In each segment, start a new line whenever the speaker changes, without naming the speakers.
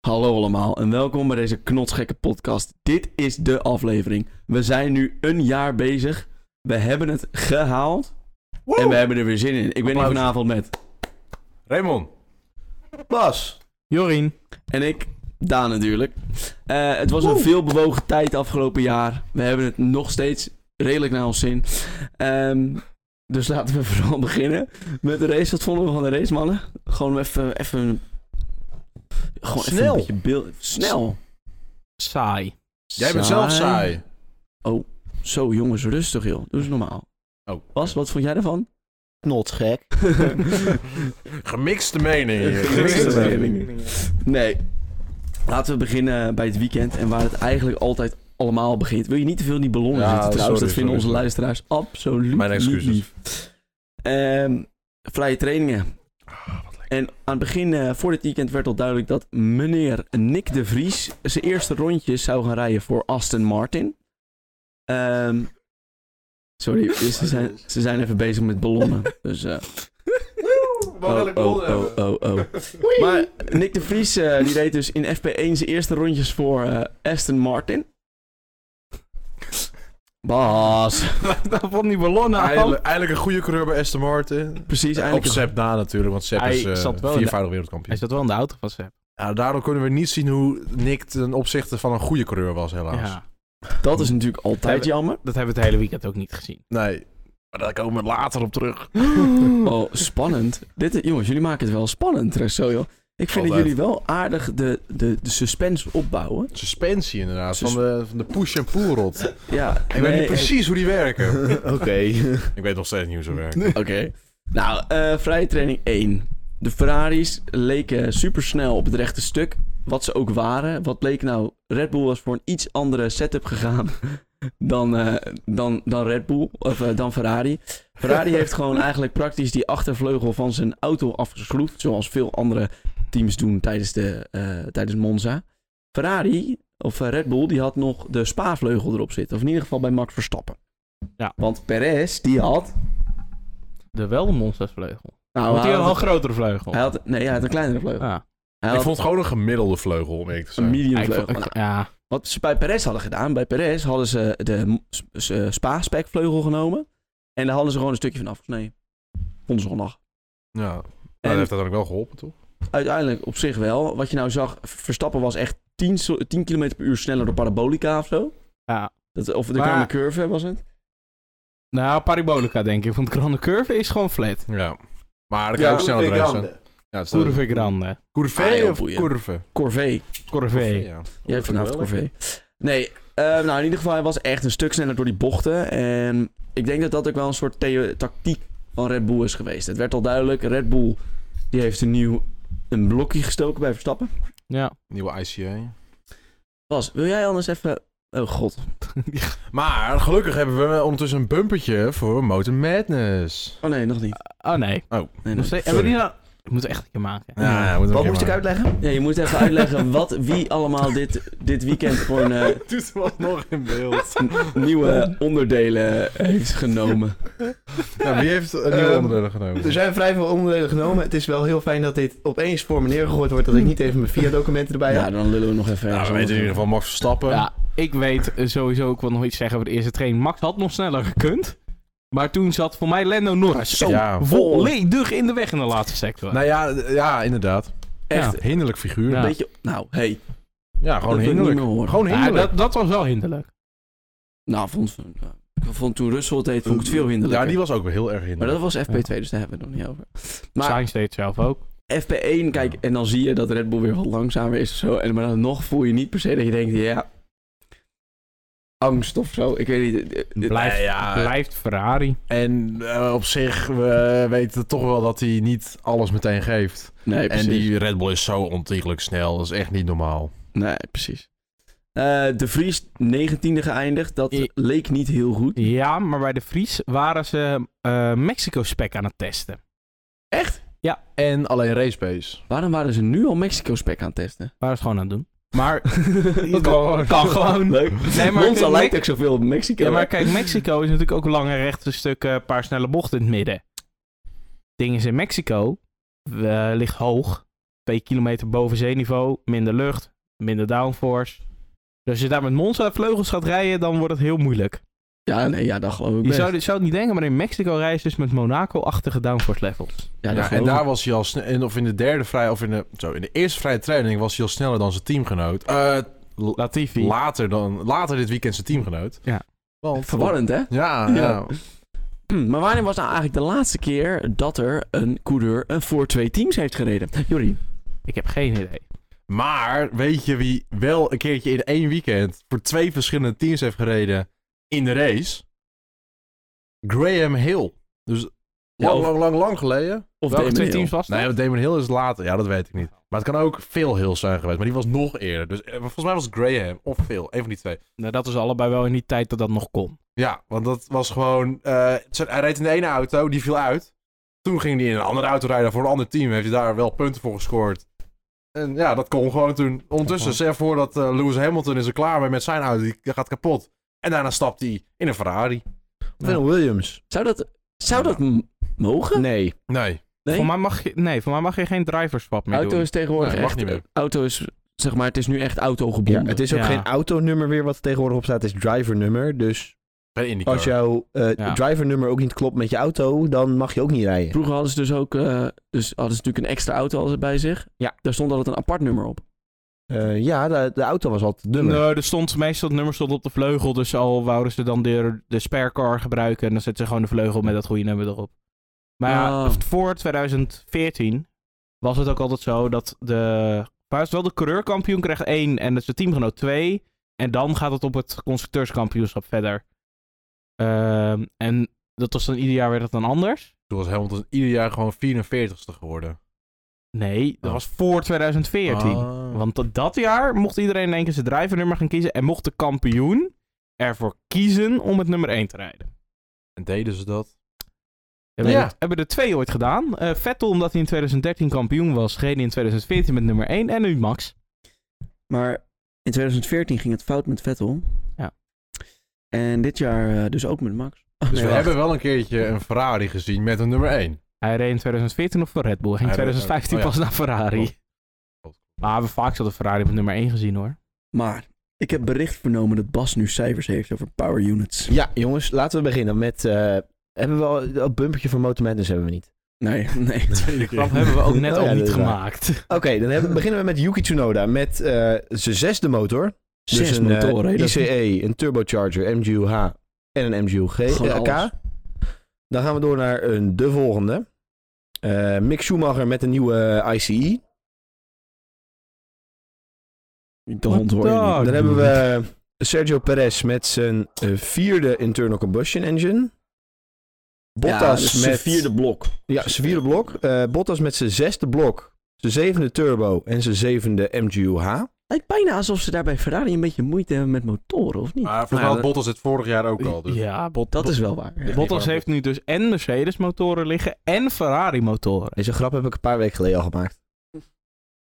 Hallo allemaal en welkom bij deze knotsgekke podcast. Dit is de aflevering. We zijn nu een jaar bezig. We hebben het gehaald en we hebben er weer zin in. Ik ben hier
Applaus.
vanavond met
Raymond. Bas.
Jorien.
en ik, Daan natuurlijk. Eh, het was een veelbewogen tijd afgelopen jaar. We hebben het nog steeds redelijk naar ons zin. Ehm, dus laten we vooral beginnen met de race. Wat vonden we van de race, mannen? Gewoon even... even gewoon even
Snel.
een beetje beeld. Snel.
Saai.
Jij bent zelf saai.
Oh, Zo jongens, rustig joh. Doe eens normaal.
Oh,
Bas, wat vond jij ervan?
Not gek.
Gemixte mening. hier.
Gemixte mening. Nee. Laten we beginnen bij het weekend en waar het eigenlijk altijd allemaal begint. Wil je niet te veel in die ballonnen
Ja,
zitten trouwens? dat
sorry,
vinden
sorry,
onze
sorry.
luisteraars absoluut
Mijn excuses.
niet lief. Ehm, vrije trainingen.
Ah,
En aan het begin eh, voor dit weekend werd al duidelijk dat meneer Nick de Vries zijn eerste rondjes zou gaan rijden voor Aston Martin. Ehm, sorry, ze zijn, ze zijn even bezig met ballonnen. Dus, eh, oh, oh, oh, oh, oh. Maar Nick de Vries eh, die deed dus in FP1 zijn eerste rondjes voor eh, Aston Martin. Bas.
Dat vond die ballonnen aan.
Eindelijk, eindelijk een goede coureur bij Aston Martin.
Precies,
Op
eindelijk.
Sepp na natuurlijk, want Sepp
Hij
is eh,
zat wel in de-
viervoudig
Hij
wereldkampioen.
zat wel in de auto van Sepp.
Ja, daardoor kunnen we niet zien hoe Nick ten opzichte van een goede coureur was, helaas.
Ja.
Dat is natuurlijk altijd jammer.
Dat hebben we het hele weekend ook niet gezien.
Nee, maar daar komen we later op terug.
Oh, spannend. Dit, is- jongens, jullie maken het wel spannend, trouwens, zo joh. Ik vind dat
Altijd.
jullie wel aardig de, de, de suspense opbouwen.
Suspensie inderdaad,
Sus- eh,
van, de, van de push- en pull-rot. Ik
Ja, ik
weet niet precies hoe die werken.
Oké.
Ik weet nog steeds niet hoe ze werken.
Oké. Nou, eh vrije training 1. De Ferraris leken supersnel op het rechte stuk. Wat ze ook waren. Wat bleek nou? Red Bull was voor een iets andere setup gegaan dan, eh, dan, dan Red Bull. Of eh, dan Ferrari. Ferrari heeft gewoon eigenlijk praktisch die achtervleugel van zijn auto afgeschroefd. Zoals veel andere teams doen tijdens, de, eh, tijdens Monza. Ferrari, of eh, Red Bull, die had nog de spaarvleugel erop zitten. Of in ieder geval bij Max Verstappen.
Ja.
Want Perez, die had
De wel een monstervleugel.
nou,
Want
hij
die had
had
een
een-
grotere vleugel.
hij had, nee, hij had een kleinere vleugel.
Ja.
Hij
Ik
had
vond het gewoon een gemiddelde vleugel, om eerlijk te
een
zijn.
medium
Ja, ik
vleugel.
vond- ik-
Nou,
ja.
wat ze bij Perez hadden gedaan, bij Perez hadden ze de m- s- s- eh, spa-spekvleugel genomen. En daar hadden ze gewoon een stukje van afgesneden. Vonden ze zondag.
Ja, maar dat
En-
heeft uiteindelijk wel geholpen, toch?
Uiteindelijk op zich wel. Wat je nou zag, Verstappen was echt 10, so- 10 km per uur sneller door Parabolica of zo.
Ja.
Dat, of de
Maar-
Grande Curve was het.
Nou, Parabolica denk ik. Want Grande Curve is gewoon flat.
Ja. Maar dat kan ook snel eruit zijn. Ja, het is
Curve Grande.
Curve
Ah, joh,
of
boeien.
curve?
Corvée.
Corvée.
Ja.
Jij hebt
Dat vind ik
vanavond
wel lekker.
corvée. Nee, eh, nou in ieder geval, hij was echt een stuk sneller door die bochten. En ik denk dat dat ook wel een soort theo- tactiek van Red Bull is geweest. Het werd al duidelijk, Red Bull die heeft een nieuw een blokje gestoken bij Verstappen.
Ja.
Nieuwe E. ICA.
Bas, wil jij anders even... Oh god.
Maar gelukkig hebben we ondertussen een bumpertje voor Motor Madness.
Oh nee, nog niet.
Oh nee.
Nee,
Nog
nog-
steeds- Hebben we die nou... Ik moet echt een keer maken.
Ja, ja, moet
Wat
ook
moest ik
even-
uitleggen?
Ja, je moet even uitleggen wat, wie allemaal dit, dit weekend gewoon eh,
Doet er wat nog in beeld.
n- nieuwe onderdelen heeft genomen.
nou, wie heeft een nieuwe
Ehm,
onderdelen genomen?
Er zijn vrij veel onderdelen genomen. Het is wel heel fijn dat dit opeens voor me neergegooid wordt. Dat ik niet even mijn VIA-documenten erbij
Ja,
heb.
dan lullen we nog even...
nou,
ergens
we weten in
anders.
ieder geval Max Verstappen.
Ja, ik weet eh, sowieso, ik wil nog iets zeggen over de eerste training. Max had nog sneller gekund. Maar toen zat voor mij Lando Norris zo
Ja.
volledig in de weg in de laatste sector.
Nou ja, d- ja, inderdaad.
Echt,
Ja.
Hinderlijk figuur.
een
Ja,
Ja.
beetje... Nou, hey, dat
gewoon
wil ik niet
hinderlijk.
meer horen.
Gewoon
Ja,
hinderlijk.
dat, dat was wel hinderlijk.
Nou, vond, ja. ik vond toen Russell het deed, vond ik het veel hinderlijker.
Ja, die was ook wel heel erg
Maar
hinderlijk.
dat was FP2, dus daar hebben we het nog niet over. Maar
Sainz deed het zelf ook.
FP1, kijk, en dan zie je dat Red Bull weer wat langzamer is of zo. En, maar dan nog voel je niet per se dat je denkt, ja... Angst of zo, ik weet niet. eh, eh,
Blijft,
Nee, ja.
blijft Ferrari.
En eh, op zich, we weten toch wel dat hij niet alles meteen geeft.
Nee, precies.
En die Red Bull is zo ontiegelijk snel. Dat is echt niet normaal.
Nee, precies. Eh, de Vries, 19e geëindigd. Dat
I-
leek niet heel goed.
Ja, maar bij de Fries waren ze eh, Mexico-spec aan het testen.
Echt?
En alleen race pace.
Waarom waren ze nu al Mexico-spec aan het testen?
Waren ze gewoon aan het doen. Maar
Dat kan-
kan gewoon.
Leuk.
Nee, maar
Monza
kijk,
lijkt ook zoveel op Mexico.
Ja, maar
hè?
kijk, Mexico is natuurlijk ook lange rechte stukken, een paar snelle bochten in het midden. Ding is in Mexico, eh, ligt hoog. 2 kilometer boven zeeniveau, minder lucht, minder downforce. Dus als je daar met Monza vleugels gaat rijden, dan wordt het heel moeilijk.
Ja, nee, ja, dat geloof ik
Je
best.
zou, dit- zou het niet denken, maar in Mexico rijden ze dus met Monaco-achtige downforce levels.
Ja, dat
Ja,
geloof
en
ik.
daar was hij al sne- en of in de derde vrij, of in de, zo, in de eerste vrije training was hij al sneller dan zijn teamgenoot. Eh, l-
Latifi.
later, dan, later dit weekend zijn teamgenoot.
Ja.
Want,
Verwarrend, hè?
Ja, ja.
Ja. Hm, maar wanneer was nou eigenlijk de laatste keer dat er een coureur een voor twee teams heeft gereden? Jordi,
Ik heb geen idee.
Maar weet je wie wel een keertje in één weekend voor twee verschillende teams heeft gereden in de race? Graham Hill. Dus lang,
Ja, of-
lang, lang, lang geleden.
of
Welke
Damon
twee
Hill?
teams was dat?
Nee, want Damon Hill is later. Ja, dat weet ik niet. Maar het kan ook Phil Hill zijn geweest. Maar die was nog eerder. Dus eh, volgens mij was het Graham of Phil. Een van die twee.
Nou, dat was allebei wel in die tijd dat dat nog kon.
Ja, want dat was gewoon... eh, ze- hij reed in de ene auto, die viel uit. Toen ging hij in een andere auto rijden voor een ander team. Heeft hij daar wel punten voor gescoord. En ja, dat kon gewoon toen. Ondertussen, stel voor dat eh, Lewis Hamilton is er klaar mee met zijn auto. Die gaat kapot. En daarna stapt hij in een Ferrari.
Van Williams.
Zou dat, zou dat m- mogen?
Nee.
Nee.
Nee?
Voor mij mag je, nee, voor mij mag je geen driverswap meer
auto
doen.
is tegenwoordig
Nee,
echt...
mag niet meer.
Auto is, zeg maar, het is nu echt
Ja,
autogebonden.
het is ook
Ja.
geen autonummer weer wat er tegenwoordig op staat. Het is drivernummer. Dus
Bij de IndyCar.
als jouw eh
Ja.
drivernummer ook niet klopt met je auto, dan mag je ook niet rijden.
Vroeger hadden ze dus ook... eh, dus hadden ze natuurlijk een extra auto altijd bij zich.
Ja.
Daar stond altijd een apart nummer op.
Eh, ja, de, de auto was altijd nummer.
Nee, er stond meestal het nummer stond op de vleugel. Dus al wouden ze dan de, de spercar gebruiken. En dan zetten ze gewoon de vleugel met dat goede nummer erop. Maar ja,
Ah.
voor 2014 was het ook altijd zo dat de. Maar het is wel de coureurkampioen krijgt één en de teamgenoot twee. En dan gaat het op het constructeurskampioenschap verder. Ehm, en dat was dan ieder jaar werd dat dan anders.
Toen was Hamilton ieder jaar gewoon 44ste geworden.
Nee, dat
Oh.
was voor 2014.
Ah.
Want dat- dat jaar mocht iedereen in één keer zijn drivernummer gaan kiezen. En mocht de kampioen ervoor kiezen om het nummer 1 te rijden.
En deden ze dat?
Hebben,
Ja.
er, hebben er twee ooit gedaan. Eh, Vettel, omdat hij in 2013 kampioen was, reed in 2014 met nummer 1. En nu Max.
Maar in 2014 ging het fout met Vettel.
Ja.
En dit jaar eh, dus ook met Max.
Dus
Nee,
we
wacht.
hebben wel een keertje een Ferrari gezien met een nummer 1.
Hij reed in 2014 nog voor Red Bull. Hij ging in
Hij reed-
2015
oh ja.
pas naar Ferrari.
Klopt. Klopt.
Maar we hebben vaak zo de Ferrari met nummer 1 gezien hoor.
Maar ik heb bericht vernomen dat Bas nu cijfers heeft over power units.
Ja, jongens, laten we beginnen met... eh, hebben we al dat bumpertje voor Motor Madness hebben we niet.
Nee, nee.
Dat hebben we ook net
Oh
al
ja,
niet
dat is waar.
gemaakt.
Oké, dan hebben, beginnen we met Yuki Tsunoda met eh, zijn zesde motor.
Zes
een, eh,
motoren, hè, dat-
ICE, een turbocharger, MGU-H en een MGU-G.
Gewoon
eh, K.
alles.
Dan gaan we door naar een de volgende. Eh, Mick Schumacher met een nieuwe eh, ICE.
De hond hoor je
What
niet.
the-
Dan hebben we eh, Sergio Perez met zijn eh, vierde internal combustion engine. Bottas
dus zijn
met...
vierde blok.
Ja, zijn vierde blok. Eh, Bottas met zijn zesde blok, zijn zevende turbo en zijn zevende MGU-H.
Lijkt bijna alsof ze daar bij Ferrari een beetje moeite hebben met motoren, of niet?
Maar volgens
Nou ja,
mij had
dat-
Bottas het vorig jaar ook al. Dus.
Ja, Bot-
dat is wel waar. ja.
Ja.
Bottas heeft nu dus en Mercedes motoren liggen en Ferrari motoren.
Deze grap heb ik een paar weken geleden al gemaakt.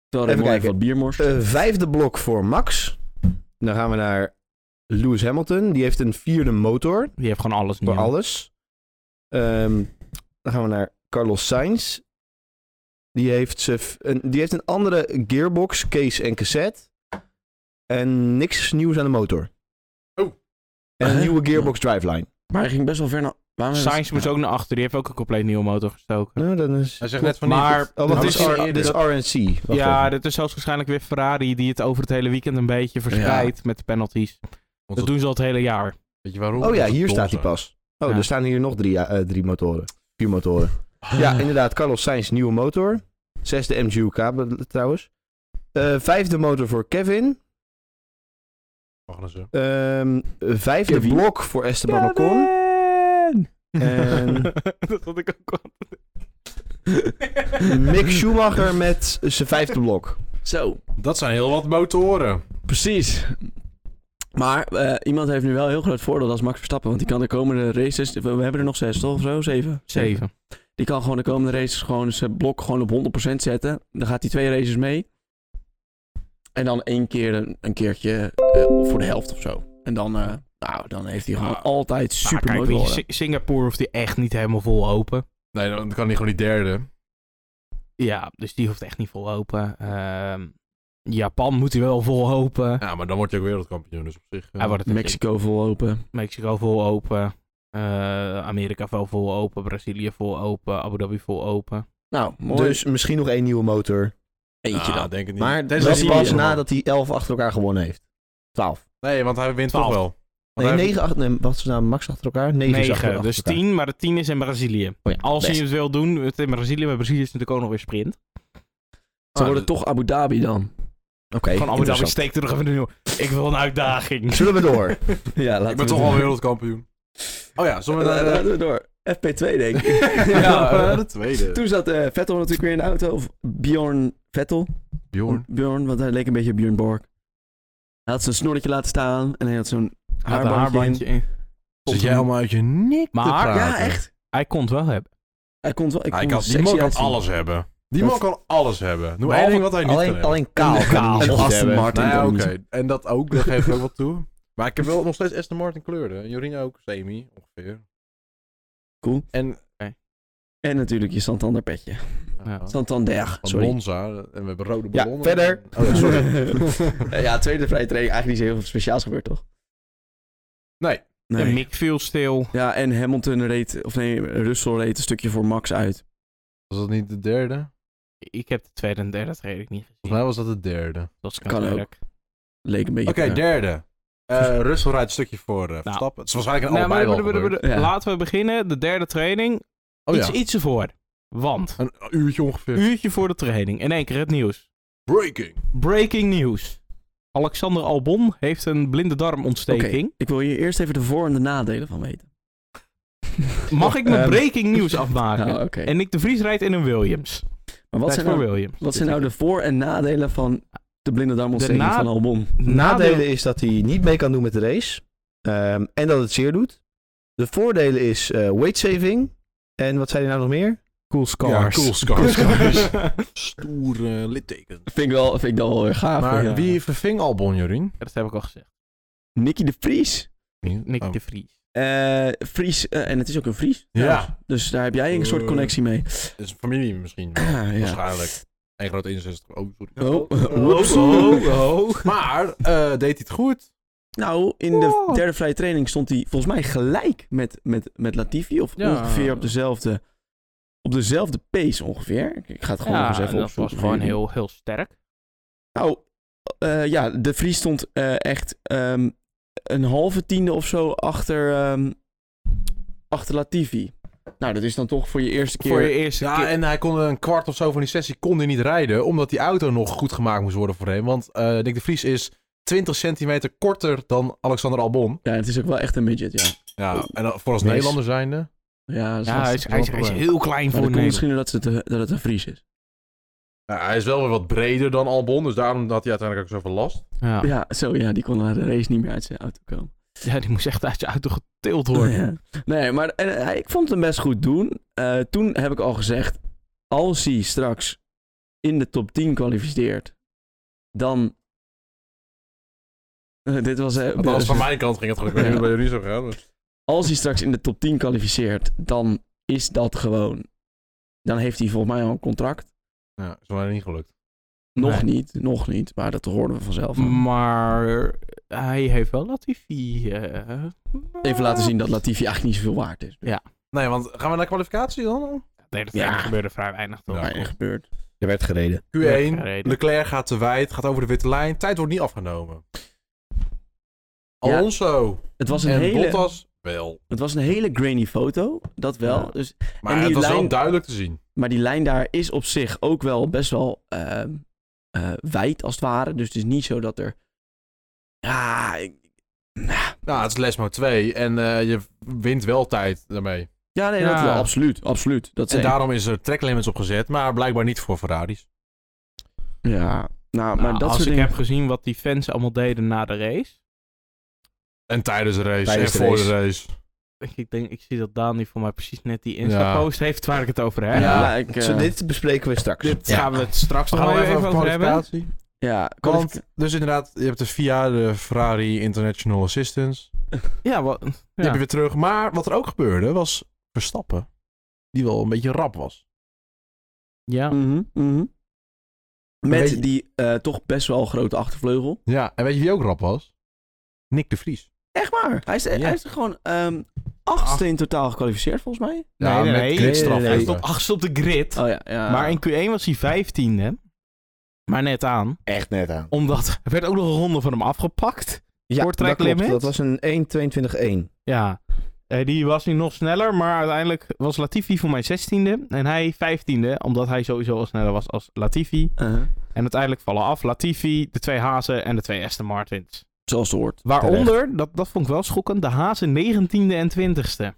Terwijl Raymond even
kijken.
wat bier morst.
Eh, vijfde blok voor Max. Dan gaan we naar Lewis Hamilton. Die heeft een vierde motor
Die heeft gewoon alles
voor
nieuw.
alles. Ehm, dan gaan we naar Carlos Sainz. Die heeft, ze f- een, die heeft een andere gearbox, case en cassette. En niks nieuws aan de motor.
Oh.
En een
Huh?
nieuwe gearbox driveline.
Maar hij ging best wel ver naar... Waarom hebben
Sainz
ze-
moest
Ja.
ook naar achter. Die heeft ook een compleet nieuwe motor gestoken.
Nou, dan is...
Hij zegt net van
Maar-
niet.
Oh,
Dat
wacht, dit
is
is, R-
eerder.
dit is RNC. Wacht
ja,
even.
dit is zelfs waarschijnlijk weer Ferrari die het over het hele weekend een beetje verspreidt met de penalties.
Want
Dat doen ze al het hele jaar.
Weet je waarom?
Oh ja,
Omdat
hier
ze dom
staat hij
zijn.
pas. Oh,
Ja.
er staan hier nog drie, eh, drie motoren. Vier motoren. Ja, inderdaad. Carlos Sainz, nieuwe motor. Zesde MGUK be- trouwens. Eh, vijfde motor voor Kevin.
Magnussen.
Ehm, vijfde
Kevin.
blok voor Esteban Ocon. En-
dat had ik ook al.
Mick Schumacher met zijn vijfde blok.
Zo,
Dat zijn heel wat motoren.
precies. Maar eh, iemand heeft nu wel een heel groot voordeel als Max Verstappen. Want die kan de komende races... We, we hebben er nog zes, toch? Of zo? Zeven?
Zeven.
Die kan gewoon de komende races gewoon zijn blok gewoon op 100% zetten. Dan gaat hij twee races mee. En dan één keer een, een keertje eh, voor de helft of zo. En dan, eh, nou, dan heeft hij gewoon
Ah,
altijd
Super
super
kijk, weet je,
mooi
Sing- Singapore hoeft die echt niet helemaal vol open.
Nee, dan kan hij gewoon die derde.
Ja, dus die hoeft echt niet vol open. Ehm, Japan moet hij wel vol open.
Ja, maar dan word je ook wereldkampioen, dus op zich... eh,
Hij wordt het Mexico.
Mexico eh. vol open.
Mexico vol open. Eh, Amerika wel vol open. Brazilië vol open. Abu Dhabi vol open.
Nou, mooi. Ah,
Dus misschien nog één nieuwe motor.
eentje
nou,
dan.
denk het niet.
Maar dat
Tenzij
is
hij-
pas nadat hij 11 achter elkaar gewonnen heeft. 12.
Nee, want hij wint
Twaalf.
toch wel. Want
Nee,
hij-
9 achter, nee, wat is nou Max achter elkaar? 9, is achter,
9,
achter
dus
elkaar.
10. Maar de 10 is in Brazilië.
Oh ja,
Als
best.
je het wil doen, het in Brazilië. Maar Brazilië is natuurlijk ook nog weer sprint.
Ze
Ah,
worden
dus-
toch Abu Dhabi dan.
Oké,
Van Abu Dhabi
interessant.
steekt er nog even een nieuwe. Ik wil een uitdaging.
Zullen we door?
Ja, laten
Ik ben toch al wereldkampioen. Oh ja, zullen we
Eh,
naar de-
Eh, door. FP2 denk ik.
Ja, eh, de tweede.
Toen zat eh, Vettel natuurlijk weer in de auto. Of Bjorn Vettel.
Bjorn.
Bjorn, want hij leek een beetje op Björn Borg. Hij had zijn snorretje laten staan en hij had zo'n
Had een
haarbandje, in.
in.
Zit jij allemaal uit je nek te
Maar-
praten?
Ja, echt.
Hij kon het wel hebben.
eh, Hij kon het wel. Ik
Hij
kon
kan,
het
die man
sexy
kan
uitzien.
alles hebben. Die
Dat-
man kan alles hebben. Noem één
Behalve-
ding wat hij niet kan
alleen,
hebben.
alleen kaal.
Een
kan hij niet
kaal.
goed
Aston
hebben.
Martin.
Nou ja,
kan
oké.
niet.
En dat ook, dat geef ik ook wat toe. Maar ik heb wel nog steeds Aston Martin kleuren. En Jorien ook, semi ongeveer.
Cool.
En
En natuurlijk je Santander petje.
Ja.
Santander,
van
sorry.
Monza. En we hebben rode
Ja,
ballonnen.
verder.
Oh, ja, sorry.
Eh, ja, tweede vrije training. Eigenlijk niet zo heel veel speciaals gebeurd, toch?
Nee.
En Mick viel stil.
Ja, en Hamilton reed, of nee, Russell reed een stukje voor Max uit.
Was dat niet de derde? Volgens
Ik heb de tweede en derde training niet gezien.
mij was dat de derde.
Dat is
Kan ook.
natuurlijk.
Leek een beetje...
Oké,
eh,
derde. Eh Russell rijdt een stukje voor eh Verstappen. Het is waarschijnlijk een
Nou, maar-
allebei wel
maar- maar-
gebeurd.
maar-
Ja.
Laten we beginnen. De derde training.
Oh
iets,
ja,
iets ervoor. Want,
een uurtje ongeveer.
uurtje voor de training. In één keer het nieuws.
Breaking.
Breaking news. Alexander Albon heeft een blinde
Oké,
darmontsteking.
ik wil hier eerst even de voor- en de nadelen van weten.
Mag ik mijn
Ehm,
breaking news afmaken?
Nou, oké.
Ah, En Nick de Vries rijdt in een Williams.
Maar wat
Tijd
zijn,
voor
nou,
Williams. Dus
wat zijn nou de voor- en nadelen van de blinde darmontsteking
De na-
van Albon?
Nadelen is dat hij niet mee kan doen met de race. Ehm, en dat het zeer doet. De voordelen is eh weight saving. En wat zei hij nou nog meer?
Cool scars.
Ja, cool scars. Stoere litteken.
Vind ik, wel, vind ik dat wel weer gaaf.
Maar
ja.
wie verving Albon, Jorien?
dat heb ik al gezegd.
Nicky de Vries.
Nick
Oh.
de Vries.
Eh, Vries, eh, en het is ook een Vries.
Ja,
Dus daar heb jij een soort
Eh.
connectie mee.
het is een familie misschien. wel,
Ah, ja.
Waarschijnlijk. Een groot 61. Oh, sorry.
Oh,
Whoops.
whoops. Oh,
Maar eh, deed hij het goed?
Nou, in de
Wow.
derde vrije training stond hij volgens mij gelijk met, met, met Latifi. Of
Ja.
ongeveer op dezelfde, op dezelfde pace ongeveer. Ik- Ik ga het gewoon nog
Ja,
eens even
dat was
opzoeken.
gewoon
voor jullie.
heel, heel sterk.
Nou, eh, ja, de Vries stond eh, echt ehm, een halve tiende of zo achter, ehm, achter Latifi. Nou, dat is dan toch voor je eerste keer...
Voor je eerste
Ja,
keer.
en hij kon een kwart of zo van die sessie kon hij niet rijden. Omdat die auto nog goed gemaakt moest worden voor hem. Want eh Nick de Vries is 20 centimeter korter dan Alexander Albon.
Ja, het is ook wel echt een midget, ja.
Ja, en dan- voor als
Mis.
Nederlander zijnde.
Ja, dat is
Ja, hij is,
lastig.
hij is, hij is heel
Maar
klein voor
dat komt
Nederland.
misschien doordat ze te- dat het een Fries is.
Ja, hij is wel weer wat breder dan Albon. Dus daarom had hij uiteindelijk ook zoveel last.
Ja.
Ja, zo ja, die kon na de race niet meer uit zijn auto komen.
Ja, die moest echt uit je auto getild worden.
Ja. Nee, maar en, eh, ik vond hem best goed doen. Eh, toen heb ik al gezegd, als hij straks in de top 10 kwalificeert, dan... Eh, dit was... eh, de-
Althans, van mijn kant ging het goed. Ik weet niet
Ja.
hoe het bij jullie dus- zo gaan. maar-
als hij straks in de top 10 kwalificeert, dan is dat gewoon... Dan heeft hij volgens mij al een contract.
Ja, is mij niet gelukt.
Nog
Nee.
niet, nog niet. Maar dat hoorden we vanzelf. al.
Maar hij heeft wel Latifi. eh,
Even laten zien dat Latifi eigenlijk niet zoveel waard is.
Nee, want gaan we naar kwalificatie dan?
Nee, dat
Ja.
gebeurde vrij weinig toch?
Ja.
Maar er gebeurt.
Er werd gereden.
Q1,
gereden.
Leclerc gaat te wijd, gaat over de witte lijn. Tijd wordt niet afgenomen.
Ja.
Alonso
Het was een
en
hele...
Bottas wel.
Het was een hele grainy foto, dat wel.
Ja.
Dus,
Maar
En die
het was wel
lijn-
duidelijk te zien.
maar die lijn daar is op zich ook wel best wel ehm, eh, wijd, als het ware. Dus het is niet zo dat er... Ja, ik-
Nou, het is Lesmo 2 en eh, je wint wel tijd daarmee.
ja nee, dat
Ja.
wel. Absoluut, absoluut. Dat
En
zeker.
daarom is er track limits op gezet, maar blijkbaar niet voor Ferraris.
Ja, nou, maar
Nou,
dat
als
soort
ik
dingen...
heb gezien wat die fans allemaal deden na de race.
En tijdens de race
Tijdens
en
de
voor
race.
de race.
denk Ik denk, ik zie dat Daan die voor mij precies net die Insta-post heeft waar ik het over
Ja,
heb.
Ja.
ik... eh,
Zo, dit bespreken we straks.
Dit
Ja.
gaan we het straks nog wel even over hebben.
ja,
Want,
kwalific-
dus inderdaad, je hebt de VIA, de Ferrari International Assistance.
Ja, wat,
Die heb je weer terug. Maar wat er ook gebeurde was Verstappen. Die wel een beetje rap was.
Ja.
Mhm, mhm. Met
Weet je-
die eh, toch best wel grote achtervleugel.
Ja, en weet je wie ook rap was? Nick de Vries.
Echt waar. Hij is, hij is er gewoon ehm achtste in totaal gekwalificeerd volgens mij.
Nee, nee,
met
nee.
klikstraf.
Nee, nee,
Hij
nee.
stond achtste op de grid.
Oh ja, ja.
Maar in Q1 was hij vijftiende. Maar net aan.
Echt net aan.
Omdat er werd ook nog een ronde van hem afgepakt.
Ja,
Short track
dat, klopt.
limit?
dat was een 1.22.1.
Ja. Eh, die was nu nog sneller. Maar uiteindelijk was Latifi voor mij zestiende. En hij vijftiende. Omdat hij sowieso al sneller was als Latifi.
Eh,
En uiteindelijk vallen af Latifi, de twee Hazen en de twee Aston Martins.
zoals het hoort.
Waaronder, dat, dat vond ik wel schokkend, de Hazen 19e en 20e.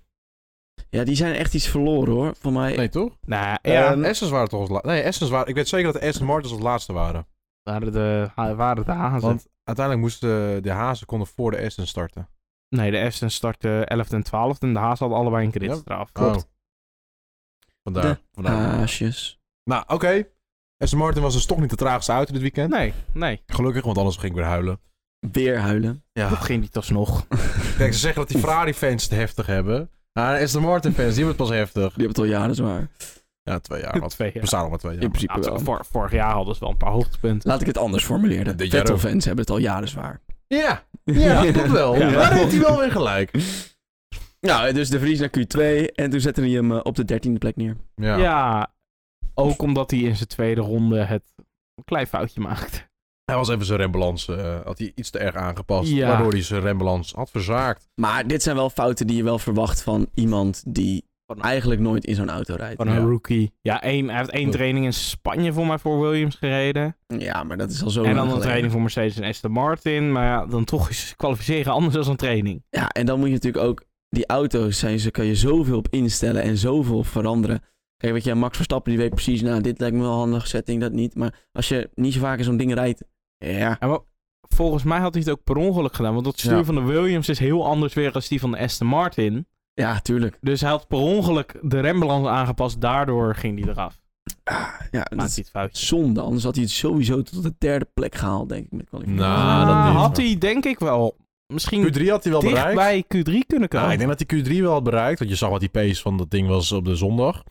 Ja, die zijn echt iets verloren hoor. Voor mij.
Nee, toch?
Nou ja,
Ehm,
Eh, Essens waren toch als laatste? Nee, Essens waren... Ik weet zeker dat de Aston Martins als laatste waren.
waren, de, ha- waren de Hazen.
Want uiteindelijk moesten de Hazen konden voor de Essens starten. Oh.
Nee, de Aston startte 11e en 12e en de Hazen hadden allebei een kritstraf.
Oh. Vandaar.
De
vandaar.
Ah, Haasjes.
Nou, oké. Aston Martin was dus toch niet de traagste auto dit weekend.
Nee, nee.
Gelukkig, want anders ging ik weer huilen.
Weer huilen.
Dat ging niet alsnog.
Kijk, ze zeggen dat die Ferrari-fans het heftig hebben. Maar Ah, de Aston Martin-fans, die hebben het pas heftig.
Die hebben het al jaren zwaar.
Ja, twee jaar. Want
Twee jaar.
we bestaan nog maar twee jaar.
In principe
Ja,
wel.
vor- vorig jaar hadden ze wel een paar hoogtepunten.
Laat ik het anders formuleren.
Dit
De
jaar ook.
Vettel-fans hebben het al jaren zwaar.
Ja, ja, dat klopt wel.
Ja.
Daar heeft hij wel weer gelijk.
Nou, dus de Vries naar Q2. En toen zetten die hem eh, op de dertiende plek neer.
Ja.
Ja. ook omdat hij in zijn tweede ronde het een klein foutje maakte.
Hij was even zijn rembalans, eh, had hij iets te erg aangepast.
Ja.
Waardoor hij zijn rembalans had verzaakt.
Maar dit zijn wel fouten die je wel verwacht van iemand die eigenlijk nooit in zo'n auto rijdt.
Van
Ja.
een rookie. Ja, één, hij heeft één training in Spanje voor mij voor Williams gereden.
Ja, maar dat is al zo
Oh,
en
lang
dan
geleden.
een training voor Mercedes en Aston Martin. Maar ja, dan toch is kwalificeren anders dan een training.
Ja, en dan moet je natuurlijk ook... Die auto's zijn, ze kan je zoveel op instellen en zoveel op veranderen. Kijk, weet je, Max Verstappen die weet precies... Nou, dit lijkt me wel een handige setting, dat niet. Maar als je niet zo vaak in zo'n ding rijdt... Ja,
En wel, volgens mij had hij het ook per ongeluk gedaan. Want dat stuur
Ja.
van de Williams is heel anders weer als die van de Aston Martin.
ja, tuurlijk.
Dus hij had per ongeluk de rembalans aangepast. Daardoor ging hij eraf.
Ah, Ja, dat
Maakt
is
hij het foutje.
zonde. Anders had hij het sowieso tot de derde plek gehaald, denk ik, met kwalificatie.
Nou, Ah, dat niet.
had hij denk ik wel misschien
Q3 had hij wel
Hm. dicht
bereikt.
bij Q3 kunnen komen.
Nou, ik denk dat hij Q3 wel had bereikt. Want je zag wat die pace van dat ding was op de zondag.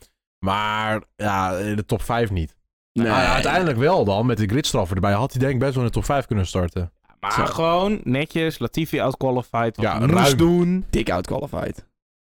Maar ja, in de top 5 niet.
Nee.
Ah,
Nou ja, uiteindelijk wel dan. Met de gridstraffer erbij had hij denk ik best wel in de top 5 kunnen starten.
maar
Zo.
gewoon netjes, Latifi outqualified. wat
Ja,
hij moest
ruim.
doen.
dik outqualified.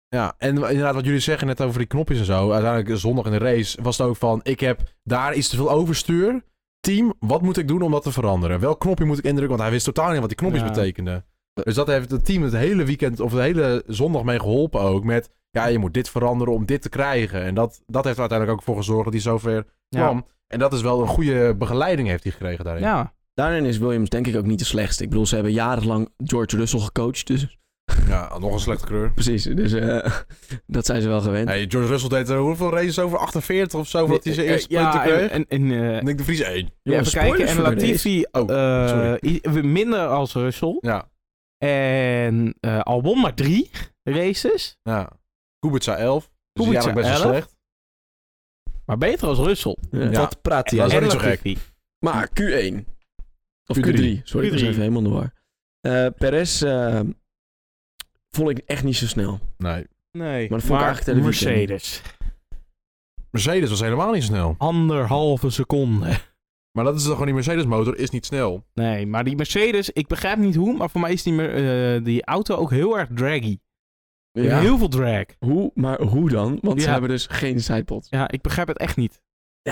Ja, en inderdaad wat jullie zeggen net over die knopjes en zo. Uiteindelijk eh, zondag in de race was het ook van... Ik heb daar iets te veel overstuur. Team, wat moet ik doen om dat te veranderen? Welk knopje moet ik indrukken? Want hij wist totaal niet wat die knopjes
Ja. Eh.
betekenden. Dus dat heeft het team het hele weekend of de hele zondag mee geholpen ook. Met, ja, je moet dit veranderen om dit te krijgen. En dat, dat heeft er uiteindelijk ook voor gezorgd dat hij zover
Ja.
kwam. En dat is wel een goede begeleiding heeft hij gekregen daarin.
ja,
Daarin is Williams denk ik ook niet de slechtste. Ik bedoel, ze hebben jarenlang George Russell gecoacht. Dus
Ja, nog een slechte kleur.
precies, dus eh, dat zijn ze wel gewend.
Hey, George Russell deed er hoeveel races over? 48 of zo, voordat hij zijn
Eh,
eerste
ja,
punten kreeg?
En, en, en, eh,
En Nick de Vries één.
Ja,
Jongens,
even kijken.
spoilers
En
voor de Oh,
Latifi
race.
eh,
sorry.
i- minder als Russell.
Ja,
En eh Albon maar drie races.
ja. Kubica 11. Dus die
Kubica
eigenlijk best wel
11.
slecht.
Maar beter als Russell.
Ja.
Ja.
Wat praat hij
Ja,
en
dat is
eigenlijk?
ook niet zo
Latifi.
Maar Q1. Of
Q3.
Q3. Sorry, ik was
Q3.
even helemaal in de war. Eh, Perez eh, vond ik echt niet zo snel.
Nee.
Nee.
Maar dat vond ik eigenlijk het hele weekend.
Mercedes.
Mercedes was helemaal niet snel.
Anderhalve seconde.
Maar dat is toch gewoon die Mercedes motor, is niet snel.
Nee, maar die Mercedes, ik begrijp niet hoe, maar voor mij is die, mer- eh, die auto ook heel erg draggy.
Ja.
Heel veel drag.
Hoe, maar hoe dan? Want ze
Ja.
hebben dus geen sidepod.
Ja, ik begrijp het echt niet.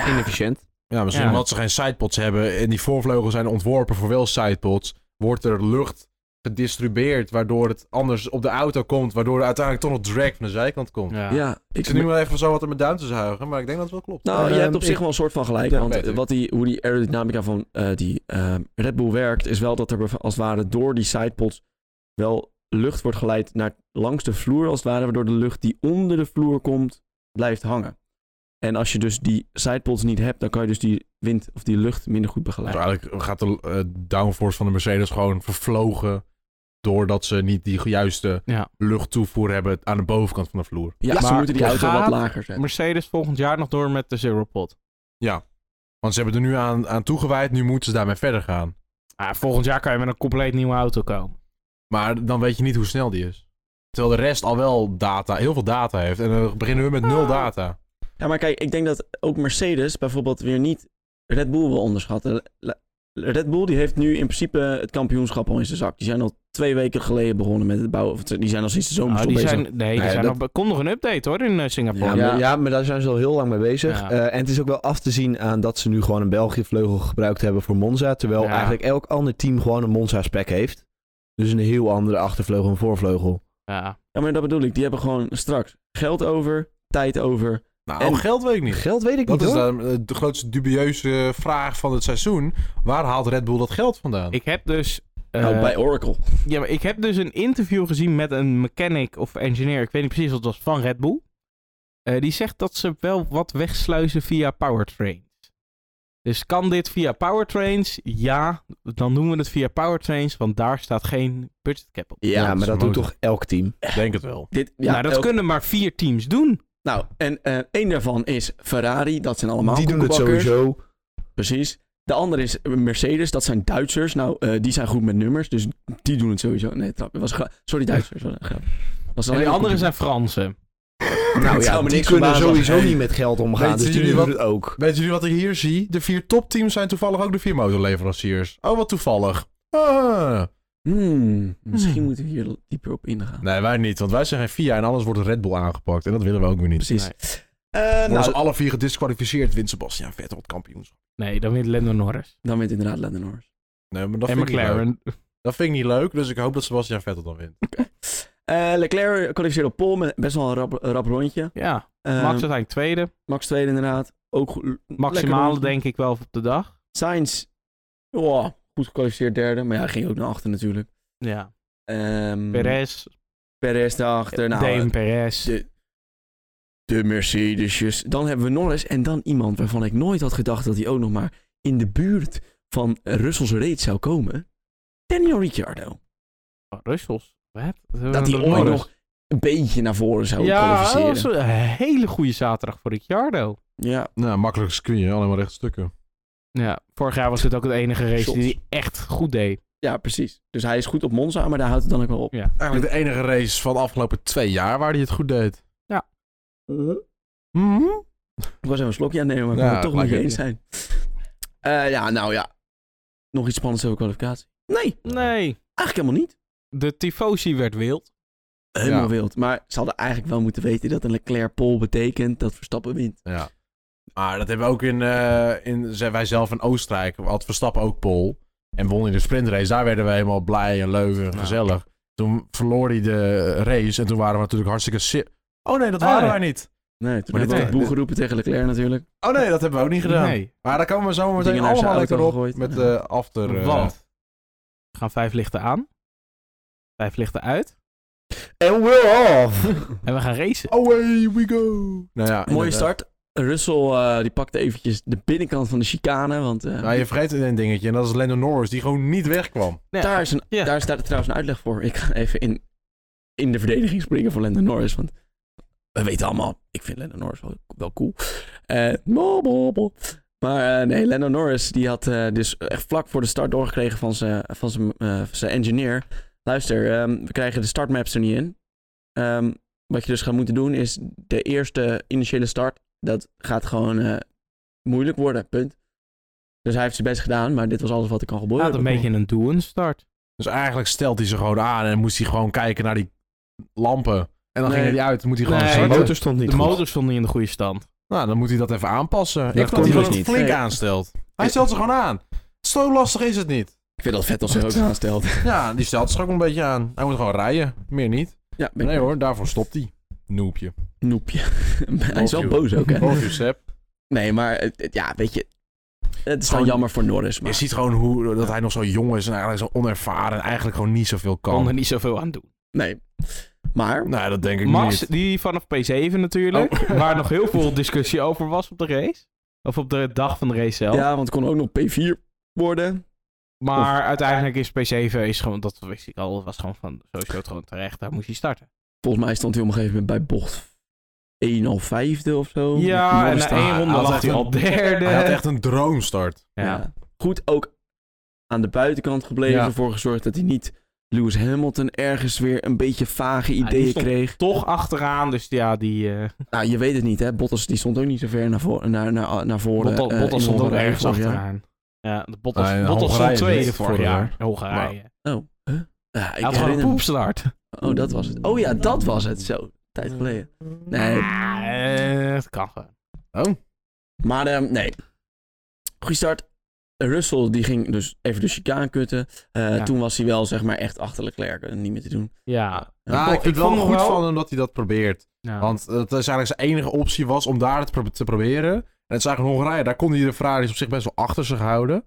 Inefficiënt.
Ja, misschien
Ja.
omdat ze geen sidepods hebben en die voorvleugels zijn ontworpen voor wel sidepods, wordt er lucht gedistribueerd, waardoor het anders op de auto komt, waardoor er uiteindelijk toch nog drag van de zijkant komt.
Ja,
Ik zit nu wel even zo wat in mijn duim te zuigen, maar ik denk dat het wel klopt.
Nou, je
Ehm,
hebt op zich
ik-
wel een soort van gelijk.
Ja,
want
weet ik.
wat die, hoe die aerodynamica van eh, die ehm, Red Bull werkt, is wel dat er bev- als het ware door die sidepods wel lucht wordt geleid naar langs de vloer, als het ware, waardoor de lucht die onder de vloer komt, blijft hangen. En als je dus die sidepods niet hebt, dan kan je dus die wind of die lucht minder goed
Dus
begeleiden.
eigenlijk gaat de eh, downforce van de Mercedes gewoon vervlogen doordat ze niet die juiste
Ja.
luchttoevoer hebben aan de bovenkant van de vloer.
Ja,
Ja,
ze
maar
moeten die
je
auto wat
gaat-
lager zetten.
Mercedes volgend jaar nog door met de Zero Pod.
Want ze hebben er nu aan, aan toegewijd, nu moeten ze daarmee verder gaan.
Ah, volgend jaar kan je met een compleet nieuwe auto komen.
Maar dan weet je niet hoe snel die is. Terwijl de rest al wel data, heel veel data heeft. En dan beginnen we met nul
Ah.
data.
Ja, maar kijk, ik denk dat ook Mercedes bijvoorbeeld weer niet Red Bull wil onderschatten. La- Red Bull die heeft nu in principe het kampioenschap al in zijn zak. Die zijn al twee weken geleden begonnen met het bouwen. Of die zijn al sinds de zomer
Nou,
al
die
bezig.
zijn, nee, die
Nee,
zijn
dat-
nog- komt nog een update hoor in eh, Singapore.
Ja,
Ja.
Maar, ja, maar daar zijn ze al heel lang mee bezig.
Ja.
Eh, en het is ook wel af te zien aan dat ze nu gewoon een België vleugel gebruikt hebben voor Monza. Terwijl
Ja.
eigenlijk elk ander team gewoon een Monza spec heeft. Dus een heel andere achtervleugel en voorvleugel.
Ja.
Ja, maar dat bedoel ik. Die hebben gewoon straks geld over, tijd over.
Nou,
En-
geld weet ik niet.
Geld weet ik
Dat
niet
is
hoor.
dan, eh, de grootste dubieuze vraag van het seizoen. Waar haalt Red Bull dat geld vandaan?
Ik heb dus. eh,
Oh,
Nou, bij Oracle.
Ja, maar ik heb dus een interview gezien met een mechanic of engineer, ik weet niet precies wat het was, van Red Bull. Eh, die zegt dat ze wel wat wegsluizen via powertrains. Dus kan dit via powertrains? Ja, dan doen we het via powertrains, want daar staat geen budget cap op.
Ja,
Ja,
maar dat
mooi.
doet toch elk team?
denk het wel.
dit, ja,
nou, dat
elk-
kunnen maar vier teams doen.
nou en eh één daarvan is Ferrari. Dat zijn allemaal
Die doen het
koekenbakkers.
sowieso.
Precies. De andere is Mercedes, dat zijn Duitsers. Nou, eh, die zijn goed met nummers, dus die doen het sowieso. Nee, trap. Het was een gra- Sorry, Duitsers. Was een grap. Was
En de andere zijn Fransen.
Nou ja, die kunnen sowieso niet met geld omgaan.
Weet
dus
jullie
die doen
wat-
het ook.
Weet jullie wat ik hier zie? De vier topteams zijn toevallig ook de vier motorleveranciers. Oh, wat toevallig. Ah.
Hmm, misschien
Hmm.
moeten we hier dieper op ingaan.
Nee, wij niet. Want wij zijn geen FIA en alles wordt Red Bull aangepakt. En dat willen we ook weer niet.
Precies.
Nee.
Eh,
Worden
nou,
ze alle vier gedisqualificeerd, wint Sebastian Vettel het kampioenschap.
Nee, dan wint Lando Norris.
dan wint inderdaad Lennon Norris.
Nee, maar dat
en
vind ik niet leuk.
McLaren.
Dat vind ik niet leuk, dus ik hoop dat Sebastian Vettel dan wint.
Eh, Leclerc kwalificeerde op pole met best wel een rap, rap rondje.
Ja,
Ehm,
Eh,
Max uiteindelijk tweede.
Max tweede inderdaad. Ook goed- lekker
Maximale
rondje.
denk ik wel op de dag.
Sainz, oh, goed gekwalificeerd derde, maar ja, ging ook naar achter natuurlijk.
Ja.
Mm.
Ehm
Perez,
Perez daarachter. Nou,
Dave Perez.
de, de Mercedesjes. Dan hebben we Norris en dan iemand waarvan ik nooit had gedacht dat hij ook nog maar in de buurt van Russell's raid zou komen. Daniel Ricciardo.
Oh, Russels. Wat?
Dat hij ooit nog een beetje naar voren zou
Ja, dat
kwalificeren.
was een hele goede zaterdag voor Ricciardo.
Ja,
Nou, makkelijk screen, alleen maar rechtstukken.
Ja, vorig jaar was dit ook het enige race
Shots.
die hij echt goed deed.
ja, precies. Dus hij is goed op Monza, maar daar houdt het dan ook wel op.
Eigenlijk de enige race van de afgelopen twee jaar waar hij het goed deed.
Ja.
Mhm.
Ik was even een slokje aan het nemen, maar ik kon
Ja,
het toch
gelijk
niet
heb
eens zijn. Eh, ja, nou ja. Nog iets spannends over kwalificatie? Nee,
Nee,
eigenlijk helemaal niet.
de tifosi werd wild.
Helemaal
Ja.
wild. Maar ze hadden eigenlijk wel moeten weten dat een Leclerc pole betekent dat Verstappen wint.
Ja. Maar dat hebben we ook in, eh, in zijn wij zelf in Oostenrijk. Had Verstappen ook pol. En won in de sprintrace. Daar werden we helemaal blij en leuk en
Ja.
gezellig. Toen verloor hij de race. En toen waren we natuurlijk hartstikke si- Oh nee, dat
Ah,
waren
nee.
wij niet.
Nee, toen
Maar
hebben we
dit-
ook boe
dit-
geroepen tegen Leclerc natuurlijk.
Oh nee, dat hebben we ook niet gedaan.
Nee,
Maar daar komen we zo meteen
Dingen naar zijn
allemaal
auto
lekker op
gegooid.
met
Ja.
de after. eh,
want we gaan vijf lichten aan, vijf lichten uit
En we're off!
en we gaan racen.
away we go. Nou ja,
Mooie
inderdaad.
start. Russell eh, die pakte eventjes de binnenkant van de chicane, want eh,
Nou, je vergeet een dingetje. En dat is Lando Norris die gewoon niet wegkwam.
Nee,
daar, is een,
ja.
daar staat trouwens een uitleg voor. Ik ga even in, in de verdediging springen voor Lando Norris, want we weten allemaal, ik vind Lando Norris wel, wel cool. Eh, bo- bo- bo. Maar eh, nee, Lando Norris die had eh, dus echt vlak voor de start doorgekregen van zijn van zijn, eh, van zijn engineer. Luister, ehm, we krijgen de startmaps er niet in. Ehm, wat je dus gaat moeten doen is de eerste initiële start, dat gaat gewoon eh, moeilijk worden, punt. Dus hij heeft zijn best gedaan, maar dit was alles wat er kan
We
gebeuren.
hadden een beetje een doen start.
Dus eigenlijk stelt hij ze gewoon aan. En moest hij gewoon kijken naar die lampen. En dan
Nee.
ging hij uit. Moet hij gewoon
Nee,
De
starten.
motor stond niet
De
goed.
motor stond niet in de goede stand.
Nou, dan moet hij dat even aanpassen.
dat
ik
kon
vond dat hij
dus
gewoon
niet.
flink
Nee.
aanstelt. Hij stelt ze gewoon aan. Zo lastig is het niet.
Ik vind dat Vettel zich ook aanstelt.
Ja, die stelt ze ook een beetje aan. Hij moet gewoon rijden. Meer niet.
Ja, ben ik
Nee hoor, daarvoor stopt hij. Noepje.
Noepje. hij is wel
Of you-
boos ook, hè?
Of you, Sepp.
Nee, maar het- het- ja, weet je. Het is wel
Gewoon-
jammer voor Norris,
Je
maar...
ziet gewoon hoe, dat hij nog zo jong is en eigenlijk zo onervaren. En eigenlijk gewoon niet zoveel kan.
Kon er niet zoveel aan doen.
Nee. Maar,
Nou, dat denk ik
Max,
niet. Oh.
die vanaf P7 natuurlijk, waar nog heel veel discussie over was op de race. Of op de dag van de race zelf.
ja, want het kon ook nog P4 worden.
Maar uiteindelijk is P7 is gewoon, dat wist ik al, was gewoon van sowieso gewoon terecht. Daar moest hij starten.
Volgens mij stond hij op een gegeven moment bij bocht 1 of 5 of zo.
ja, en
Norris
na
staat-
één ronde
had
lag
echt
hij
een-
al derde.
Hij had echt een droomstart.
ja.
Goed ook aan de buitenkant gebleven.
Ja.
Voor gezorgd dat hij niet Lewis Hamilton ergens weer een beetje vage
die
ideeën
stond-
kreeg.
Toch achteraan, dus ja, die... eh
Nou, je weet het niet, hè. Bottas die stond ook niet zo ver naar, voor, naar, naar, naar voren.
Bottas
eh,
Bottas
in
stond ook
Hongarije
ergens
vorig jaar.
achteraan. Ja, de Bottas,
Nee,
Bottas stond
Hongarije
tweede
niet,
vorig
vorig
jaar. Hongarije.
Oh, huh? ja, ik
Hij had gewoon een
herinner me.
poepstart.
Oh, dat was het. Oh ja, dat was het. Zo, tijd geleden. Nee.
Ah, eh, het kan gewoon.
Oh.
Maar ehm, nee. Goeie start. Russell die ging dus even de chicane kutten. Eh,
Ja.
Toen was hij wel zeg maar echt achter Leclerc en niet meer te doen.
Ja.
Nou, ik vind
ik
het wel
vond nog
goed
wel-
van hem dat hij dat probeert.
ja.
Want dat is eigenlijk zijn enige optie was om daar het pro- te proberen. En het is eigenlijk Hongarije, daar kon hij de Ferraris op zich best wel achter zich houden.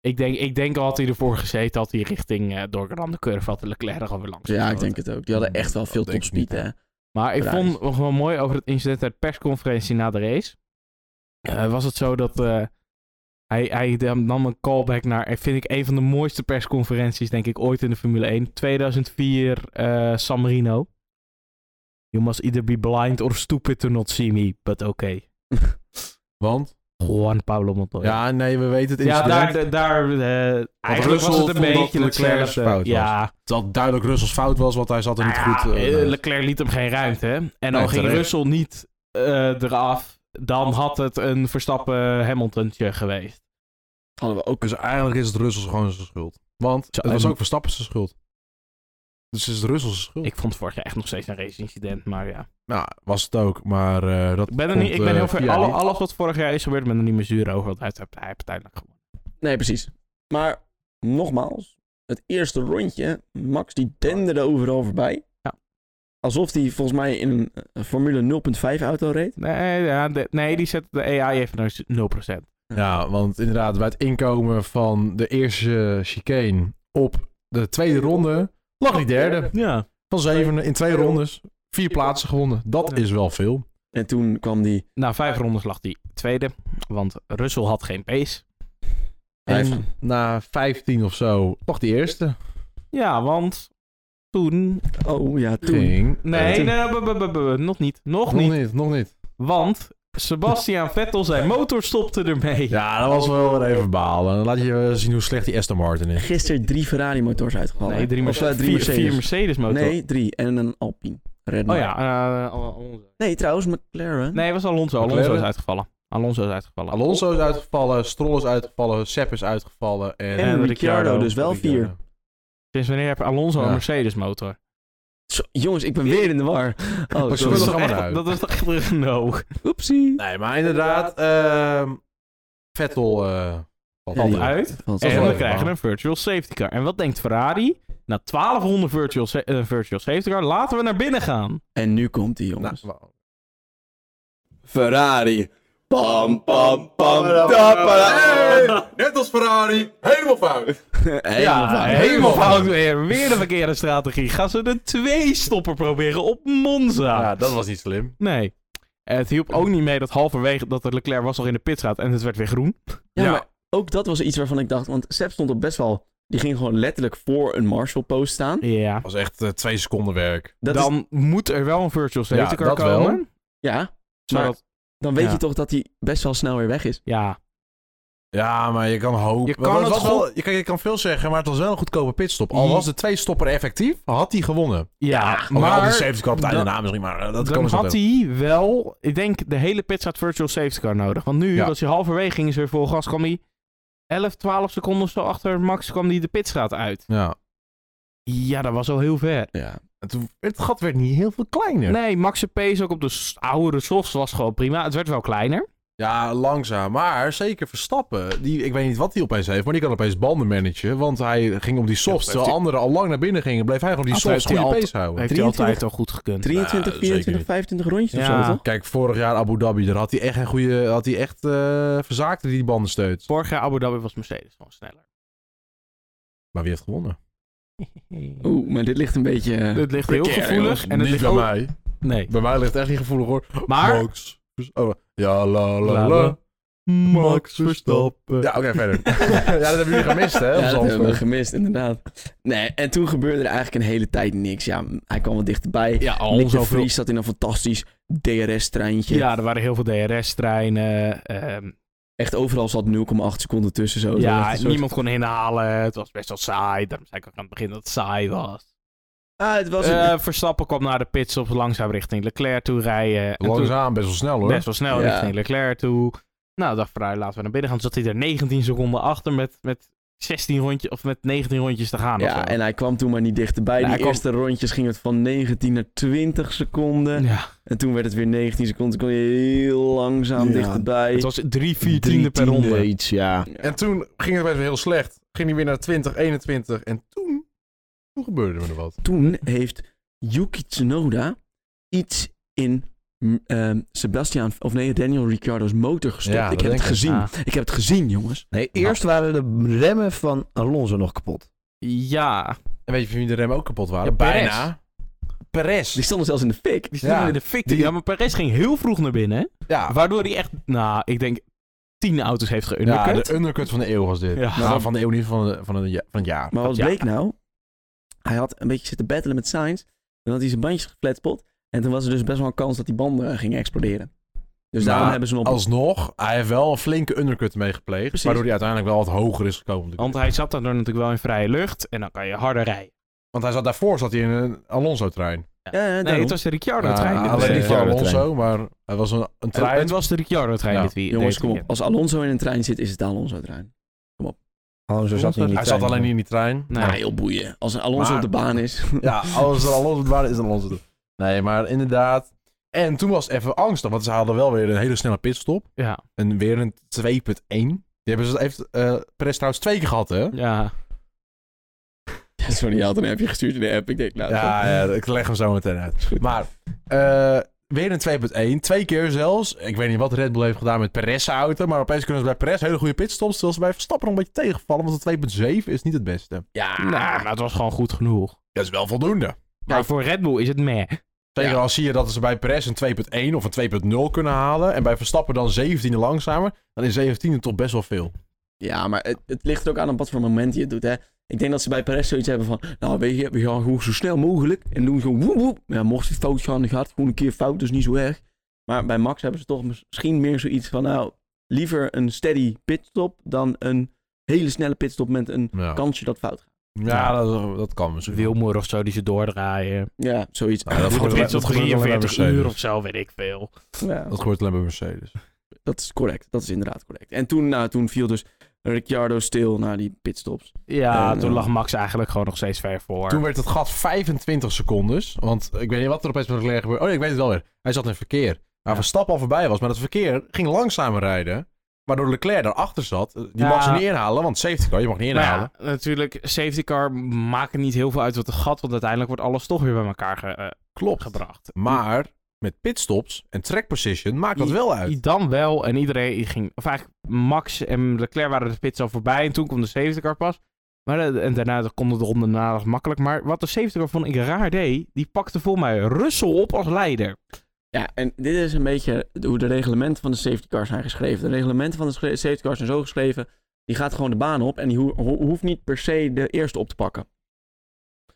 ik, denk, ik denk al had hij ervoor gezeten, had hij richting eh doorgerande curve, had de Leclerc er gewoon weer langs.
Ja, ik
geschoten.
denk het ook. Die hadden echt wel
Dat
veel
denk ik
topspeed,
niet, hè.
hè.
Maar ik
Ferrari.
vond nog wel mooi over het incident uit de persconferentie na de race. Eh, was het zo dat eh, hij, hij nam een callback naar, eh, vind ik, een van de mooiste persconferenties, denk ik, ooit in de Formule 1. 2004 eh, San Marino. You must either be blind or stupid to not see me, but okay.
Want,
Juan Pablo Montoya.
ja, nee, we weten het
Oh, Ja,
incident.
daar, daar- daar eh,
Russell
eigenlijk was het een
vond dat
beetje
Leclerc's
hetzelfde.
fout was.
Ja,
Dat duidelijk Russells fout was, want hij zat er niet
Nou
goed...
ja,
eh,
eh,
naast.
Leclerc liet hem geen ruimte. hè. En
Nee,
al ging
terecht.
Russell niet eh, eraf, dan had het een Verstappen Hamiltontje geweest.
Hadden we ook.
Dus eigenlijk is het Russells gewoon zijn schuld. Want
Zo,
het was
en-
ook Verstappen zijn schuld. Dus is het Russells schuld.
Ik vond het vorig jaar echt nog steeds een race-incident, maar ja.
Nou, was het ook, maar eh, dat
Ik ben er
komt,
niet, ik ben
eh,
heel ver,
via
alle,
die-
alles wat vorig jaar is gebeurd, ben er niet meer zuur over, want hij heeft, hij heeft uiteindelijk gewonnen.
Nee, precies. Maar nogmaals, het eerste rondje, Max die denderde overal voorbij.
Ja.
Alsof hij volgens mij in een eh, Formule 0.5 auto reed.
Nee, ja, de- nee, die zet de AI even naar 0%.
Ja, want inderdaad, bij het inkomen van de eerste chicane op de tweede ronde lag hij derde.
Ja.
Van zeven in twee rondes. Vier plaatsen gewonnen. Dat is wel veel.
En toen kwam die.
Na vijf rondes lag hij tweede, want Russell had geen pace.
En na 15 of zo lag die eerste.
Ja, want toen...
Oh ja, toen.
Ging.
Nee,
Eh,
nee, bu- bu- bu- bu- nog niet. Nog
nog
niet.
niet. Nog niet.
Want Sebastian Vettel, zijn motor stopte ermee.
Ja, dat was wel weer even balen. Dan laat je eh, zien hoe slecht die Aston Martin is.
Gisteren drie Ferrari-motors uitgevallen.
nee, drie,
Of, eh,
Mercedes,
drie
vier,
Mercedes.
vier Mercedes motor.
Nee, drie. En een Alpine. Red
Oh
Bull.
ja, eh, Al- Alonso.
Nee, trouwens, McLaren.
Nee, het was Alonso. Alonso
McLaren.
is uitgevallen. Alonso is uitgevallen.
Alonso is uitgevallen, Stroll is uitgevallen, Sepp is uitgevallen
En,
en...
En
Ricciardo,
eh, Ricciardo,
dus wel vier.
Sinds wanneer heb Alonso
Ja.
een Mercedes motor?
Zo, jongens, ik ben weer in de war. Oh,
Maar
sorry.
zullen we-
toch
gaan
echt,
eruit.
dat is toch echt een no.
Oepsie.
Nee, maar inderdaad, ehm, Vettel eh, valt
Ja, die-
uit.
Uit.
Valt
is
En
wel
we
even
krijgen
waar.
een virtual safety car. En wat denkt Ferrari? Na 1200 virtual, sa- eh, virtual safety car, laten we naar binnen gaan.
En nu komt die,
Nou,
jongens.
wa-
Ferrari. Pam, pam, pam.
net als Ferrari, helemaal fout.
ja, nou,
ja, helemaal
Helemaal
fout
fout.
weer. Weer de verkeerde strategie. Gaan ze de twee-stopper proberen op Monza?
Ja, dat was niet slim.
Nee. En het hielp ook niet mee dat halverwege dat de Leclerc was al in de pit gaat en het werd weer groen.
Ja,
Ja.
maar ook dat was iets waarvan ik dacht, want Sepp stond op best wel... Die ging gewoon letterlijk voor een Marshall-post staan.
Ja.
Dat was echt eh, twee seconden werk.
Dat is-
Dan moet er wel een virtual safety
Ja,
car
dat wel.
komen.
ja,
Zodat,
dan weet
Ja.
je toch dat hij best wel snel weer weg is.
ja.
Ja, maar je kan hopen.
Je
Je
kan
kan,
het goed-
wel, je, kan, je kan veel zeggen, maar het was wel een goedkope pitstop. Al
Ja.
was de twee-stopper effectief, had hij gewonnen.
Ja,
Maar de
maar
safety car op het einde
dan-
na misschien, maar eh, dat
dan
kan zo
had
wel.
hij wel, ik denk, de hele pit staat virtual safety car nodig. Want nu
Ja.
was hij halverwege, ging ze weer vol gas, kwam hij 11, 12 seconden of zo achter Max, kwam hij de pitstraat uit.
Ja.
Ja, dat was al heel ver.
Ja.
En toen, het gat werd niet heel veel kleiner.
Nee, Max' pace ook op de s- oude softs was gewoon prima. Het werd wel kleiner.
Ja, langzaam. Maar zeker Verstappen. Die, ik weet niet wat hij opeens heeft, maar die kan opeens banden managen. Want hij ging om die softs.
Ja,
terwijl
heeft
anderen al lang naar binnen gingen, bleef hij gewoon die
Ah,
softs
heeft hij
goede
al-
pace houden.
Heeft hij
23?
altijd al goed gekund.
23,
zeker
24,
niet.
25 rondjes
Ja.
of zo, toch?
Kijk, vorig jaar Abu Dhabi, daar had hij echt een goede... Had hij echt eh verzaakt die bandensteut.
Vorig jaar Abu Dhabi was Mercedes gewoon sneller.
Maar wie heeft gewonnen?
Oeh, maar dit ligt een beetje... eh,
Het ligt heel
precair,
gevoelig. En het
niet
ligt
bij
ook...
mij.
Nee.
Bij mij ligt het echt niet gevoelig hoor.
Maar-
Max. Vers- Oh, ja, la
La,
la
la.
la.
Max Verstappen.
Ja, oké, verder. ja, dat hebben jullie gemist, hè?
Ja,
op
dat hebben we
Zandvoort.
gemist, inderdaad. Nee, en toen gebeurde er eigenlijk een hele tijd niks. Ja, m- hij kwam wel dichterbij.
Ja, al
Nick de
zoveel-
Vries zat in een fantastisch DRS-treintje.
Ja, er waren heel veel DRS-treinen. ehm,
Echt overal zat 0,8 seconden tussen. Zo. Het was
ja,
Oh, echt een soort-
niemand kon inhalen. Het was best wel saai. Daarom zei ik ook aan het begin dat het saai was.
Ah, het was een-
Eh, Verstappen kwam naar de pits op langzaam richting Leclerc toe rijden. En toen
Langzaam, best wel snel hoor.
best wel snel
Ja.
richting Leclerc toe. Nou, dacht Ferrari, laten we naar binnen gaan. Toen zat hij er 19 seconden achter met, met 16 rondjes, of met 19 rondjes te gaan. of zo.
ja, en hij kwam toen maar niet dichterbij.
Nee,
Die
Nou, hij kwam-
eerste rondjes ging het van 19 naar 20 seconden.
Ja,
En toen werd het weer 19 seconden. Toen kwam je heel langzaam
Ja,
dichterbij.
het was 3, 4
Drie
tiende per
tiende
ronde.
Iets, ja.
En toen ging het best wel heel slecht. Ging hij weer naar 20, 21. En toen, toen gebeurde er wat.
Toen heeft Yuki Tsunoda iets in m, ehm, Sebastian, of nee, Daniel Ricciardo's motor gestopt.
Ja,
ik
dat
heb het
denk ik.
gezien.
Ah.
Ik heb het gezien, jongens.
Nee, eerst waren de remmen van Alonso nog kapot.
Ja,
En weet je van wie de rem ook kapot waren?
Ja, Perez.
Perez.
Die stonden zelfs in de fik.
die stonden
Ja,
in de fik.
die-
Ja, maar Perez ging heel vroeg naar binnen. hè?
Ja.
Waardoor hij echt, nou, ik denk 10 auto's heeft
ja,
geundercut.
de undercut van de eeuw was dit.
Ja.
Nou, van de eeuw niet, van, de- van, het ja- van het jaar.
Maar wat
Ja.
bleek nou? Hij had een beetje zitten battelen met Sainz. Dan had hij zijn bandjes geflatspot. En toen was er dus best wel een kans dat die banden eh, gingen exploderen.
Nou,
Dus daarom
Maar
hebben ze hem op...
Alsnog, hij heeft wel een flinke undercut mee gepleegd.
Precies.
Waardoor hij uiteindelijk wel wat hoger is gekomen.
Want hij zat daardoor natuurlijk wel in vrije lucht. En dan kan je harder rijden.
Want hij zat daarvoor zat hij in een Alonso-trein.
Ja, ja,
Nee,
daarom.
het was de Ricciardo-trein.
Oh, Ja,
dit
alleen
was
niet
weekend.
van
Ricciardo-trein.
Alonso, maar het was een, een
Het-
trein.
Het was de Ricciardo-trein
Ja.
dit wie-
Jongens,
dit
kom op.
weekend.
Als Alonso in een trein zit, is het Alonso-trein.
Alonso zat niet in die
hij zat
trein.
alleen niet in die trein.
Nee.
Nou, heel boeien. Als een Alonso
Maar-
op de baan is.
Ja, alles er Alonso waar is dan Alonso. het. Nee, maar inderdaad. En toen was het even angstig, want ze hadden wel weer een hele snelle pitstop.
Ja,
En weer een 2.1. Die hebben ze heeft eh Perez trouwens twee keer gehad, hè?
ja.
Sorry, je had een appje gestuurd in de app. Ik denk, nou...
Ja, ja, ik leg hem zo meteen uit. Maar eh, weer een 2.1. Twee keer zelfs. Ik weet niet wat Red Bull heeft gedaan met Perez' auto. Maar opeens kunnen ze bij Perez hele goede pitstops. Terwijl ze bij Verstappen nog een beetje tegenvallen. Want een 2.7 is niet het beste.
ja.
Nou, maar het was gewoon goed genoeg.
Dat is wel voldoende.
Maar voor Red Bull is het meh.
Zeker
Ja.
als zie je dat ze bij Perez een 2.1 of een 2.0 kunnen halen. En bij Verstappen dan 17e langzamer. Dan is 17e toch best wel veel.
Ja, maar het, het ligt er ook aan op wat voor moment je het doet, hè. Ik denk dat ze bij Perez zoiets hebben van... Nou, weet je, we gaan gewoon zo snel mogelijk. En doen gewoon woep woep. Ja, mocht het fout gaan, dan gaat het gewoon een keer fout. Dus niet zo erg. Maar bij Max hebben ze toch misschien meer zoiets van... Nou, liever een steady pitstop dan een hele snelle pitstop met een
Ja,
kansje dat fout gaat.
ja dat, dat kan misschien.
Wilmoer of zo die ze doordraaien.
Ja, zoiets.
Nou, dat
Doe
gebeurt-
de pits op
dat gebeurt alleen bij
43 uur
Mercedes.
of zo, weet ik veel.
Ja.
Dat gebeurt alleen bij Mercedes.
Dat is correct. Dat is inderdaad correct. En toen, nou, toen viel dus Ricciardo stil naar die pitstops.
Ja,
En,
toen
eh,
lag Max eigenlijk gewoon nog steeds ver voor.
Toen werd het gat 25 seconden. Want ik weet niet wat er opeens met Leclerc gebeurde. Oh, nee, ik weet het wel weer. Hij zat in verkeer. Waar
Ja.
Verstappen al voorbij was. Maar dat verkeer ging langzamer rijden. Waardoor Leclerc daarachter zat. Eh, Die
Ja.
mag ze niet inhalen, want safety car, je mag niet
Maar
inhalen.
ja, natuurlijk, safety car maakt niet heel veel uit wat het gat, want uiteindelijk wordt alles toch weer bij elkaar ge- eh,
Klopt.
gebracht.
Maar met pitstops en track position maakt dat wel uit.
I- Dan wel, en iedereen ging... Of eigenlijk Max en Leclerc waren de pits al voorbij en toen kwam de safety car pas. Maar eh, en daarna konden de ronde daarna nog makkelijk. Maar wat de safety car vond ik raar deed, die pakte voor mij Russell op als leider.
Ja, en dit is een beetje hoe de reglementen van de safety cars zijn geschreven. De reglementen van de schre- safety cars zijn zo geschreven. Die gaat gewoon de baan op en die ho- ho- hoeft niet per se de eerste op te pakken.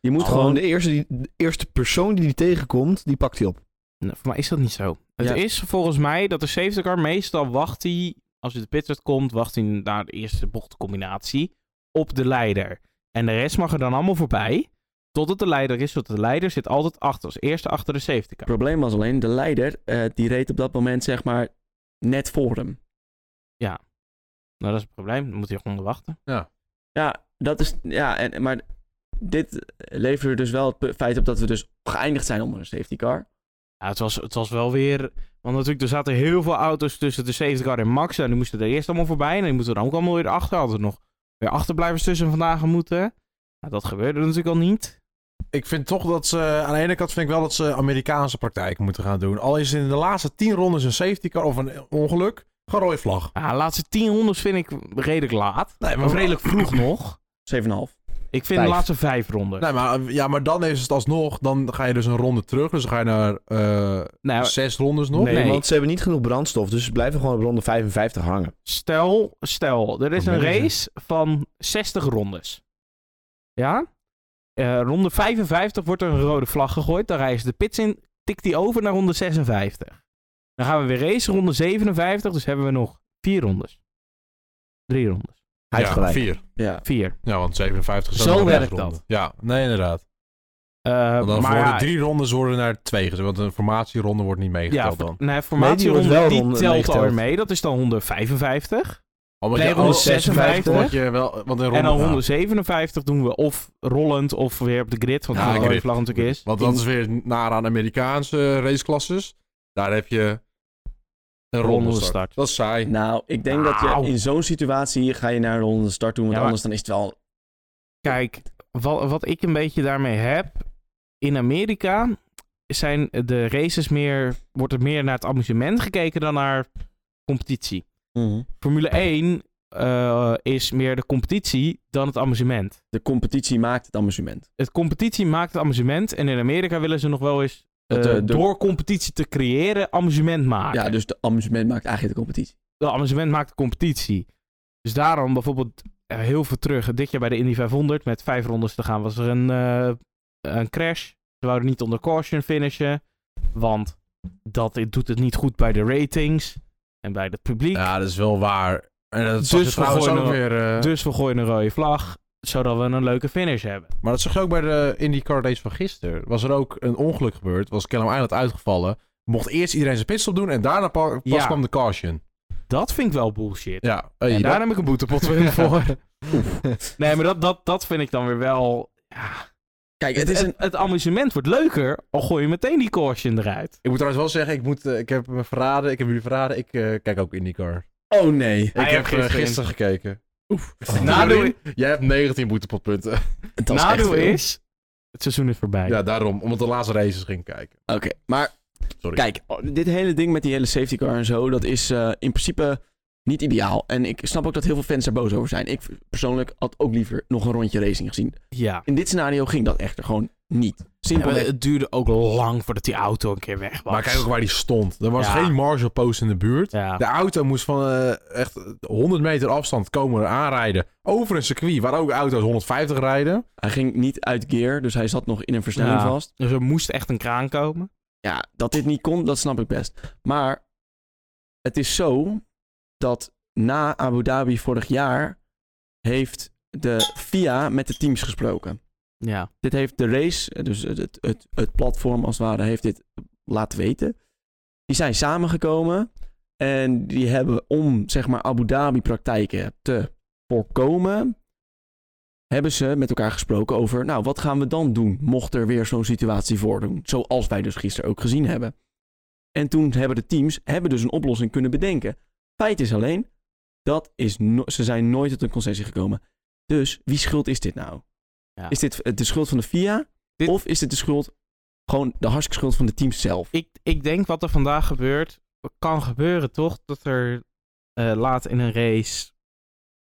Je moet
Gewoon
gewoon.
de eerste, die, de eerste persoon die die tegenkomt, die pakt hij op.
Nou, voor mij is dat niet zo. Het
Ja.
is volgens mij dat de safety car meestal wacht hij, als hij de pitstop komt, wacht hij naar de eerste bochtcombinatie op de leider. En de rest mag er dan allemaal voorbij, totdat de leider is, want de leider zit altijd achter, als eerste achter de safety car.
Het probleem was alleen, de leider, eh, die reed op dat moment zeg maar net voor hem.
Nou, dat is het probleem, dan moet hij gewoon wachten.
Ja, dat is. Ja, en, maar dit leverde dus wel het pe- feit op dat we dus geëindigd zijn onder een safety car.
Ja, het was, het was wel weer, want natuurlijk er zaten heel veel auto's tussen de safety car en Max, en die moesten er eerst allemaal voorbij, en die moesten er ook allemaal weer achter, hadden er nog weer achterblijvers tussen vandaag moeten. Nou, dat gebeurde natuurlijk al niet.
Ik vind toch dat ze, aan de ene kant vind ik wel dat ze Amerikaanse praktijken moeten gaan doen. Al is in de laatste 10 rondes een safety car of een ongeluk, gewoon rode vlag.
Ja, de laatste 10 rondes vind ik redelijk laat.
Nee,
Maar redelijk vroeg nog.
7,5.
Ik vind
Vijf.
de laatste vijf ronden.
Nee, maar, ja, maar dan is het alsnog, dan ga je dus een ronde terug. Dus dan ga je naar eh,
nou,
zes rondes nog.
Nee.
Want ze hebben niet genoeg brandstof, dus ze blijven gewoon op ronde 55 hangen.
stel, stel, er is
Wat
een
ben je?
race van 60 rondes. Ja? Eh, ronde 55 wordt er een rode vlag gegooid. Dan rijden ze de pits in, tikt die over naar ronde 56. Dan gaan we weer race ronde 57, dus hebben we nog vier rondes. Drie rondes.
ja,
Hij heeft gelijk.
vier.
Ja.
Vier.
Ja, want 57 is
Zo
ook nog een
werkt
ronde.
dat.
Ja, nee, inderdaad.
Eh,
Want dan
maar
worden
ja,
drie rondes worden naar twee gezet. Want een formatieronde wordt niet
ja,
meegeteld dan.
voor- nee,
Nee, die wordt
formatieronde,
wel
die,
ronde
telt
meegeteld.
alweer mee. Dat is dan 155.
Omdat
nee,
je-
ronde
oh,
56.
omdat je wel, want een ronde,
en dan
ja.
157 doen we of rollend of weer op de grid. Want
Ja,
de rode
grid.
vlag natuurlijk is.
Want dat is weer naar aan Amerikaanse raceklasses. Daar heb je een ronde
Ronde
start.
start.
Dat is saai.
Nou, ik denk dat
Nou.
je in zo'n situatie ga je naar de ronde start toe, want
Ja, maar-
anders dan is het wel...
Kijk, wat, wat ik een beetje daarmee heb. In Amerika zijn de races meer. Wordt er meer naar het amusement gekeken dan naar competitie. Formule 1 eh, is meer de competitie dan het amusement.
De competitie maakt het amusement.
Het competitie maakt het amusement. En in Amerika willen ze nog wel eens.
Dat,
eh,
eh, de-
Door competitie te creëren, amusement maken.
Ja, dus de amusement maakt eigenlijk de competitie.
de amusement maakt de competitie. Dus daarom bijvoorbeeld eh, heel veel terug. Dit jaar bij de Indy 500 met vijf rondes te gaan was er een, eh, een crash. Ze wouden niet onder caution finishen. Want dat doet het niet goed bij de ratings en bij het publiek.
Ja, dat is wel waar. En dat
Dus
zag je
we
trouwens
gooien
ook
hem-
weer... eh,
Dus we gooien een rode vlag, zodat we een leuke finish hebben.
Maar dat zag je ook bij de IndyCar race van gisteren. Was er ook een ongeluk gebeurd. Was Callum Island uitgevallen. Mocht eerst iedereen zijn pitstop doen en daarna pa- pas
Ja.
kwam de caution.
Dat vind ik wel bullshit.
Ja, hey,
en
dat-
daar heb ik een boetepot weer voor. nee, maar dat, dat, dat vind ik dan weer wel... Ja,
Kijk,
het,
het is een...
het, amusement wordt leuker, al gooi je meteen die caution eruit.
Ik moet trouwens wel zeggen, ik, moet, eh, ik heb me verraden, ik heb jullie verraden. Ik eh, kijk ook IndyCar.
Oh nee.
Ik heb
heeft
eh,
gisteren
gisteren, gekeken. Oef.
Nadeel-
Jij hebt 19 boetepotpunten.
Het was echt
Nadeel
veel.
is, het seizoen is voorbij.
Ja, daarom. Omdat de laatste races ging kijken.
Oké, maar
Sorry.
kijk, oh, dit hele ding met die hele safety car en zo, dat is eh, in principe niet ideaal. En ik snap ook dat heel veel fans daar boos over zijn. Ik persoonlijk had ook liever nog een rondje racing gezien.
Ja.
In dit scenario ging dat echter gewoon niet. Simpelweg.
het duurde ook lang voordat die auto een keer weg was.
Maar kijk ook waar die stond. Er was
Ja.
geen marshal post in de buurt.
Ja.
De auto moest van eh, echt 100 meter afstand komen aanrijden. Over een circuit waar ook auto's 150 rijden.
Hij ging niet uit gear, dus hij zat nog in een versnelling
Ja.
vast.
Dus er moest echt een kraan komen.
Ja, dat dit niet kon, dat snap ik best. Maar het is zo dat na Abu Dhabi vorig jaar heeft de FIA met de teams gesproken.
Ja.
Dit heeft de race, dus het, het, het, het platform als het ware, heeft dit laten weten. Die zijn samengekomen en die hebben om zeg maar Abu Dhabi praktijken te voorkomen, hebben ze met elkaar gesproken over, nou wat gaan we dan doen mocht er weer zo'n situatie voordoen, zoals wij dus gisteren ook gezien hebben. En toen hebben de teams hebben dus een oplossing kunnen bedenken. Feit is alleen, dat is no- ze zijn nooit tot een concessie gekomen. Dus wie schuld is dit nou?
Ja.
Is dit de schuld van de FIA?
Dit-
Of is dit de schuld, gewoon de hartstikke schuld van de teams zelf?
Ik, ik denk wat er vandaag gebeurt, kan gebeuren toch? Dat er eh, laat in een race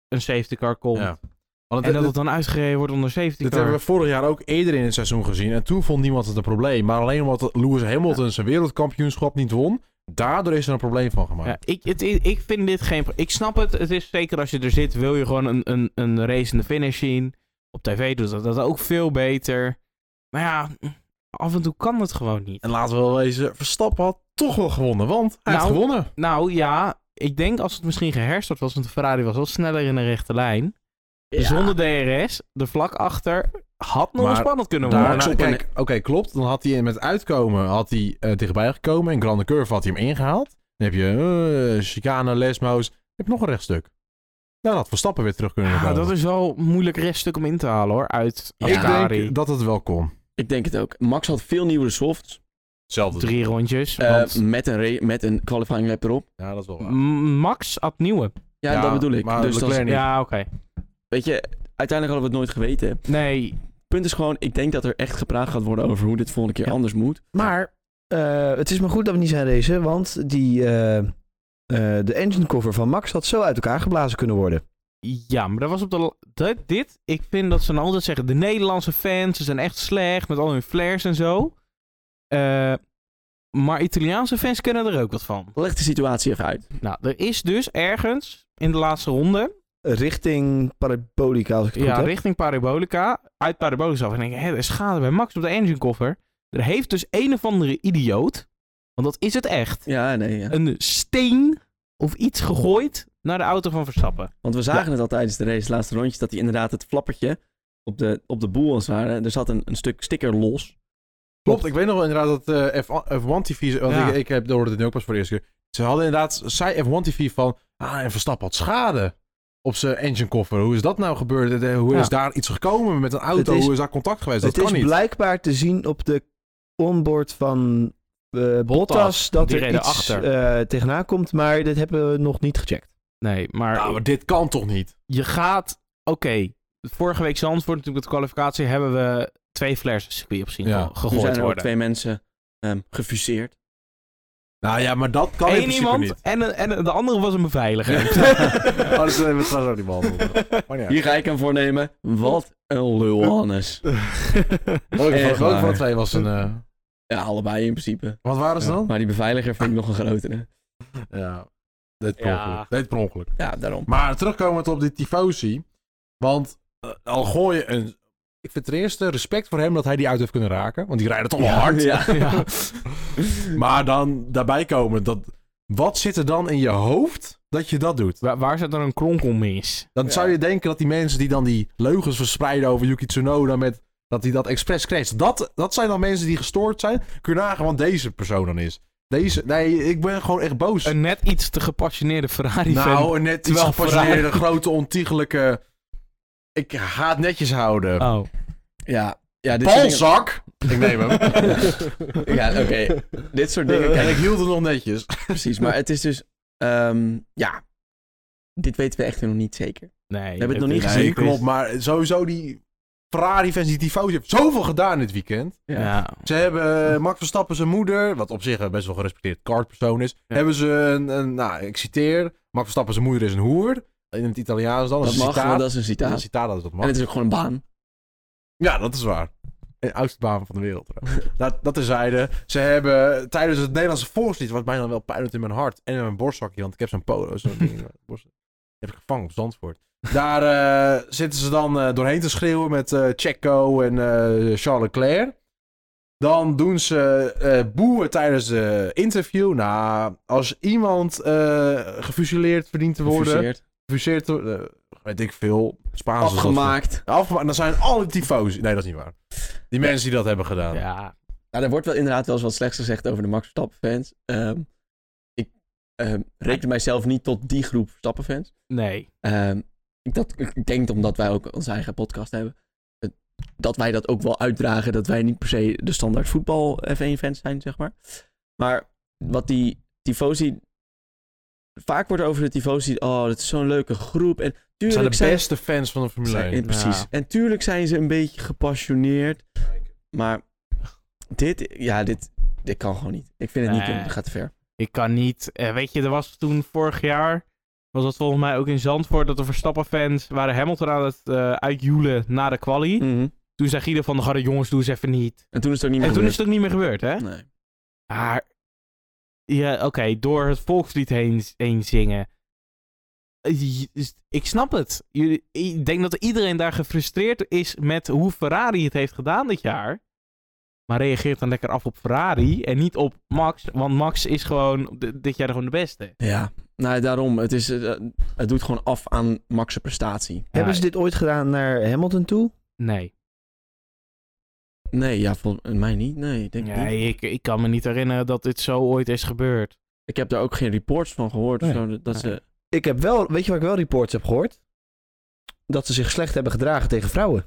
een safety car komt.
Ja. Want
En
het-
dat het
het-
dan uitgereden wordt onder safety
dit
car.
hebben we vorig jaar ook eerder in het seizoen gezien. En toen vond niemand het een probleem. Maar alleen omdat Lewis Hamilton zijn wereldkampioenschap niet won. Daardoor is er een probleem van gemaakt.
Ja, ik, het, i- ik vind dit geen... pro- Ik snap het. Het is zeker als je er zit, wil je gewoon een, een, een race in de finish zien. Op tv doet dat, dat ook veel beter. Maar ja, af en toe kan het gewoon niet.
En laten we wel wezen, Verstappen had toch wel gewonnen. Want hij
Nou.
heeft gewonnen.
Nou ja, ik denk als het misschien geherstart was, want de Ferrari was wel sneller in een rechte lijn. Zonder DRS, de vlak achter, had nog
Maar
wel spannend kunnen
Nou,
worden. Nou,
Max
Daarna,
op een-
kijk, oké, klopt. Dan had hij met uitkomen had hij, eh, dichtbij gekomen. En Grande Curve had hij hem ingehaald. Dan heb je eh chicane, lesmo's. Dan heb je nog een rechtstuk. Nou, dat had Verstappen weer terug kunnen
Ja,
komen.
dat is wel een moeilijk reststuk om in te halen hoor, uit
Ja.
Ik
Ferrari.
denk dat het wel kon.
Ik denk het ook. Max had veel nieuwere softs.
Hetzelfde.
Drie rondjes,
eh,
want
met, een ra- met een qualifying lap erop.
Ja, dat is wel waar.
M- Max had nieuwe.
Ja,
Ja,
dat bedoel ik.
maar
Dus dat is-
Leclerc niet.
Ja, oké.
weet je, uiteindelijk hadden we het nooit geweten.
Nee,
punt is gewoon, ik denk dat er echt gepraat gaat worden over hoe dit volgende keer
Ja.
anders moet.
Maar eh, het is maar goed dat we niet zijn racen, want die, eh, eh, de engine cover van Max had zo uit elkaar geblazen kunnen worden.
Ja, maar dat was op de. la- Dat, dit, ik vind dat ze dan altijd zeggen: de Nederlandse fans ze zijn echt slecht met al hun flares en zo. Eh, maar Italiaanse fans kennen er ook wat van.
Leg de situatie even uit.
Nou, er is dus ergens in de laatste ronde,
Richting Parabolica, als ik het
ja,
goed heb.
richting Parabolica, uit Parabolica af. En ik denk: hé, er is schade bij Max op de engine-koffer. Er heeft dus een of andere idioot, want dat is het echt,
Eh, Ja, nee, ja.
een steen of iets gegooid naar de auto van Verstappen.
Want we zagen het al tijdens de race, het laatste rondjes, dat hij inderdaad het flappertje op de, op de boel als het ware. Er zat een, een stuk sticker los.
Klopt, ik weet nog wel inderdaad dat eh, F- F1 TV... Want
Ja.
ik, ik heb, hoorde dit nu ook pas voor de eerste keer. Ze hadden inderdaad, zei F1 TV van... Ah, en Verstappen had schade op zijn enginekoffer. Hoe is dat nou gebeurd? De- Hoe
Ja.
is daar iets gekomen met een auto?
Het is-
Hoe is daar contact geweest? Dat
het is
kan niet.
blijkbaar te zien op de onboard van eh, Bottas, dat
die
er
reden
iets
achter.
eh, tegenaan komt, maar dit hebben we nog niet gecheckt.
Nee, maar,
Nou, maar dit kan toch niet?
je gaat... Oké, vorige week Zandvoort, natuurlijk met de kwalificatie, hebben we twee flares het circuit op zien
Ja.
ge-
Toen
Toen
zijn
gegooid
er ook
worden.
twee mensen ehm, gefuseerd.
Nou ja, maar dat kan in
Eén
principe niet.
iemand en, een- en de andere was een beveiliger.
Oh, dat hebben we trouwens ook niet behandeld. Maar Oh, ja.
Hier ga ik hem voor nemen. Wat een lul, Hannes.
Welke van-
Echt
welke van de
waar.
twee was een... eh,
Ja, allebei in principe.
Wat waren ze
Ja.
dan?
Maar die beveiliger vind ik nog een grotere.
Ja, dit per
Ja.
ongeluk. Dit per ongeluk.
Ja, daarom.
Maar terugkomend op die tifosi. Want eh, al gooi je een... Ik vind ten eerste respect voor hem dat hij die uit heeft kunnen raken. Want die rijden toch wel hard.
Ja.
Ja.
Maar dan daarbij komen dat... Wat zit er dan in je hoofd dat je dat doet?
waar, waar zit er een kronkelmis?
Dan
Ja.
zou je denken dat die mensen die dan die leugens verspreiden over Yuki Tsunoda met dat hij dat expres crasht. Dat, dat zijn dan mensen die gestoord zijn. Kun je nagaan wat deze persoon dan is. Deze, nee, ik ben gewoon echt boos.
Een net iets te gepassioneerde Ferrari-fan.
eh,
nou, een net iets
terwijl
gepassioneerde, grote, ontiegelijke... Ik haat netjes houden.
oh.
Ja, ja, dit soort dingen-
Balzak! Ik neem hem.
Ja, oké. Dit soort dingen
En
kijk
ik hield het nog netjes.
precies. Maar het is dus... ehm, ja, dit weten we echt nog niet zeker.
Nee.
hebben het nog niet
nee,
gezien.
Nee,
het is-
klopt. Maar sowieso die Ferrari-fans die tifosi hebben zoveel gedaan dit weekend.
Ja.
Ja.
Ze hebben eh, Max Verstappen zijn moeder, wat op zich een best wel gerespecteerd kartpersoon is.
Ja.
Hebben ze een, een, nou ik citeer, Max Verstappen zijn moeder is een hoer. In het Italiaans dan,
Dat
een
mag,
citaat.
want dat is een
Een
citaat.
citaat dat is dat mag.
En het is ook gewoon een baan.
Ja, dat is waar. De oudste baan van de wereld. trouwens. dat, dat terzijde. Ze hebben tijdens het Nederlandse volkslied, wat mij dan wel pijn doet in mijn hart en in mijn borstzakje, want ik heb zo'n polo, zo'n ding. in mijn borst. Die heb ik gevangen op Zandvoort. Daar eh, zitten ze dan eh, doorheen te schreeuwen met eh Checo en eh, Charles Leclerc. Dan doen ze eh, boeien tijdens de interview. Nou, als iemand eh gefusileerd verdient te worden,
Gefuseerd.
gefuseerd, te- eh, weet ik veel, Spaans of zo.
Afgemaakt.
Afgemaakt. Dan zijn alle tyfo's. Nee, dat is niet waar. Die mensen die dat hebben gedaan.
Ja.
Nou, er wordt wel inderdaad wel eens wat slechts gezegd over de Max Verstappen fans. Ehm, ik ehm, reken mijzelf niet tot die groep Verstappen fans.
Nee.
Ehm, ik, dat, ik denk omdat wij ook onze eigen podcast hebben, eh, dat wij dat ook wel uitdragen. Dat wij niet per se de standaard voetbal F1-fans zijn, zeg maar. Maar wat die tifosi... Vaak wordt er over de tifosi, oh, dat is zo'n leuke groep. En
Ze zijn
tuurlijk
de
zijn,
beste fans van de Formule
zijn-
1.
eh, precies.
Ja.
En tuurlijk zijn ze een beetje gepassioneerd. Maar dit, ja, dit, dit kan gewoon niet. Ik vind het niet
Nee.
kunnen, het gaat te ver.
Ik kan niet. eh, weet je, er was toen vorig jaar. Was dat volgens mij ook in Zandvoort. Dat de Verstappen-fans waren Hamilton aan het eh uitjoelen na de quali.
Mm.
Toen zei Guido van de Garde, jongens, doe eens even niet.
Mhm. En toen is het ook niet meer
En toen is
gebeurd.
het ook niet meer gebeurd, hè?
Nee.
Maar. Ja, oké. door het volkslied heen, heen zingen. Eh, je- is- Ik snap het. Jullie- Ik denk dat iedereen daar gefrustreerd is met hoe Ferrari het heeft gedaan dit jaar. Maar reageert dan lekker af op Ferrari en niet op Max. Want Max is gewoon d- dit jaar gewoon de beste.
Ja, nou daarom. Het, is, eh, het doet gewoon af aan Max' prestatie.
Hebben
Ja,
ze dit ooit gedaan naar Hamilton toe?
Nee.
Nee, ja, volgens mij niet. Nee, ik denk niet.
nee ik, ik kan me niet herinneren dat dit zo ooit is gebeurd.
Ik heb daar ook geen reports van gehoord. of
Nee.
zo, dat dat
Nee.
ze...
Ik heb wel, weet je waar ik wel reports heb gehoord? Dat ze zich slecht hebben gedragen tegen vrouwen.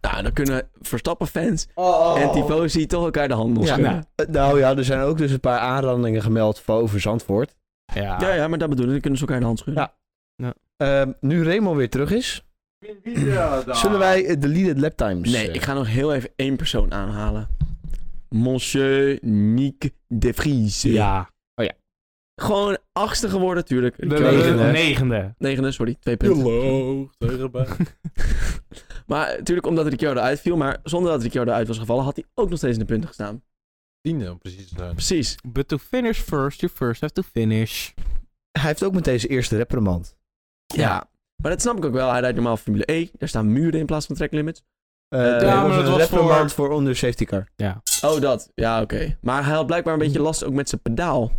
Nou, dan kunnen Verstappen-fans en Tifosi toch elkaar de handen
Ja.
schudden.
Ja.
Eh, Nou ja, er zijn ook dus een paar aanrandingen gemeld voor over Zandvoort.
Ja.
Ja, ja, maar dat bedoel ik. Dan kunnen ze elkaar de hand schudden.
Ja. Ehm, nu Remo weer terug is, zullen wij eh, de leaded eh, laptimes...
Nee, ik ga nog heel even één persoon aanhalen. Monsieur Nick de Vries.
Ja.
Gewoon achtste geworden, natuurlijk.
De, de-
Negende.
de negende.
Negende, sorry. Twee punten.
Je tegenbij.
Maar natuurlijk omdat Ricciardo uitviel. Maar zonder dat Ricciardo uit was gevallen, had hij ook nog steeds in de punten gestaan.
Tiende, om precies te zijn.
Precies.
But to finish first, you first have to finish.
Hij heeft ook met deze eerste reprimand.
Ja. Maar dat snap ik ook wel. Hij rijdt normaal Formule E. Daar staan muren in plaats van tracklimits.
Eh
Ja,
er
maar
was
dat
een
was
reprimand voor... onder safety car.
Oh, dat. Ja, oké. Maar hij had blijkbaar een beetje last ook met zijn pedaal.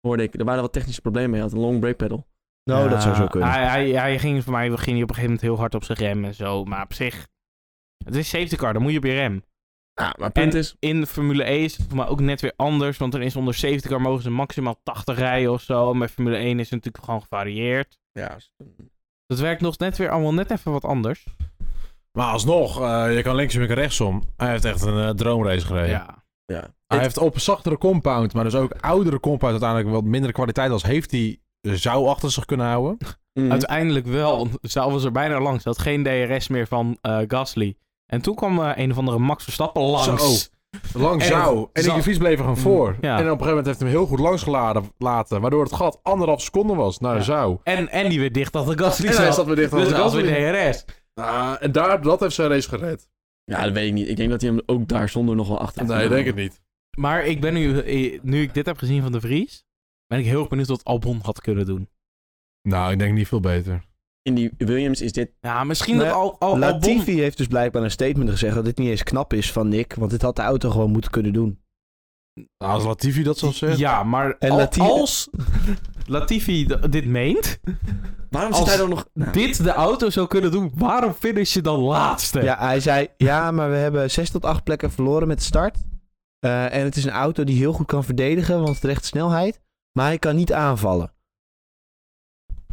Hoorde ik. Er waren wat technische problemen mee. Hij had een long brake pedal.
Nou, dat zou
Ja,
zo kunnen.
Hij, hij, hij ging voor mij ging hij op een gegeven moment heel hard op zijn rem en zo. Maar op zich, het is safety car, dan moet je op je rem.
Ja, maar punt
En-
is,
In Formule E is het voor mij ook net weer anders. Want dan is onder safety car mogen ze maximaal 80 rijden of zo. En bij Formule 1 is het natuurlijk gewoon gevarieerd.
ja,
Dat werkt nog net weer allemaal net even wat anders.
Maar alsnog, eh, je kan linksom, je kan rechtsom. Hij heeft echt een eh, droomrace gereden.
Ja.
ja.
Hij
Het-
heeft op een zachtere compound, maar dus ook oudere compound uiteindelijk wat mindere kwaliteit als heeft hij eh, zou achter zich kunnen houden.
Mm.
Mhm.
Uiteindelijk wel, want Zou was er bijna langs. Had geen DRS meer van eh, Gasly. En toen kwam eh, een of andere Max Verstappen langs.
Zo. Lang
En-
zou. En
Zou. Mm,
die fiets bleef er gewoon voor. En
Ja.
op een gegeven moment heeft hij hem heel goed langs geladen, laten, waardoor het gat anderhalf seconde was naar
Ja.
zou.
En, en die weer dicht achter Gasly
En hij
zat.
zat weer dicht aan
dus
de
dat was
Gasly.
weer DRS.
Ah, en daar, dat heeft zijn race gered.
ja, dat weet ik niet. Ik denk dat hij hem ook daar zonder nog wel achter
Nee, ik denk het niet.
Maar ik ben nu, eh, nu ik dit heb gezien van de Vries, ben ik heel erg benieuwd wat Albon had kunnen doen.
Nou, ik denk niet veel beter.
In die Williams is dit...
Ja, misschien
Nou
dat
ja,
al, al, oh, Albon...
Latifi heeft dus blijkbaar een statement gezegd dat dit niet eens knap is van Nick, want dit had de auto gewoon moeten kunnen doen.
Nou, als Latifi dat zou zeggen.
Ja, maar
En
al-
Lati-
als Latifi d- dit meent,
Waarom
Als
zit hij dan nog... Nou,
dit de auto zou kunnen doen, waarom finish je dan laatste?
Ja, hij zei, ja, maar we hebben zes tot acht plekken verloren met de start. Eh, en het is een auto die heel goed kan verdedigen, want het recht snelheid. Maar hij kan niet aanvallen.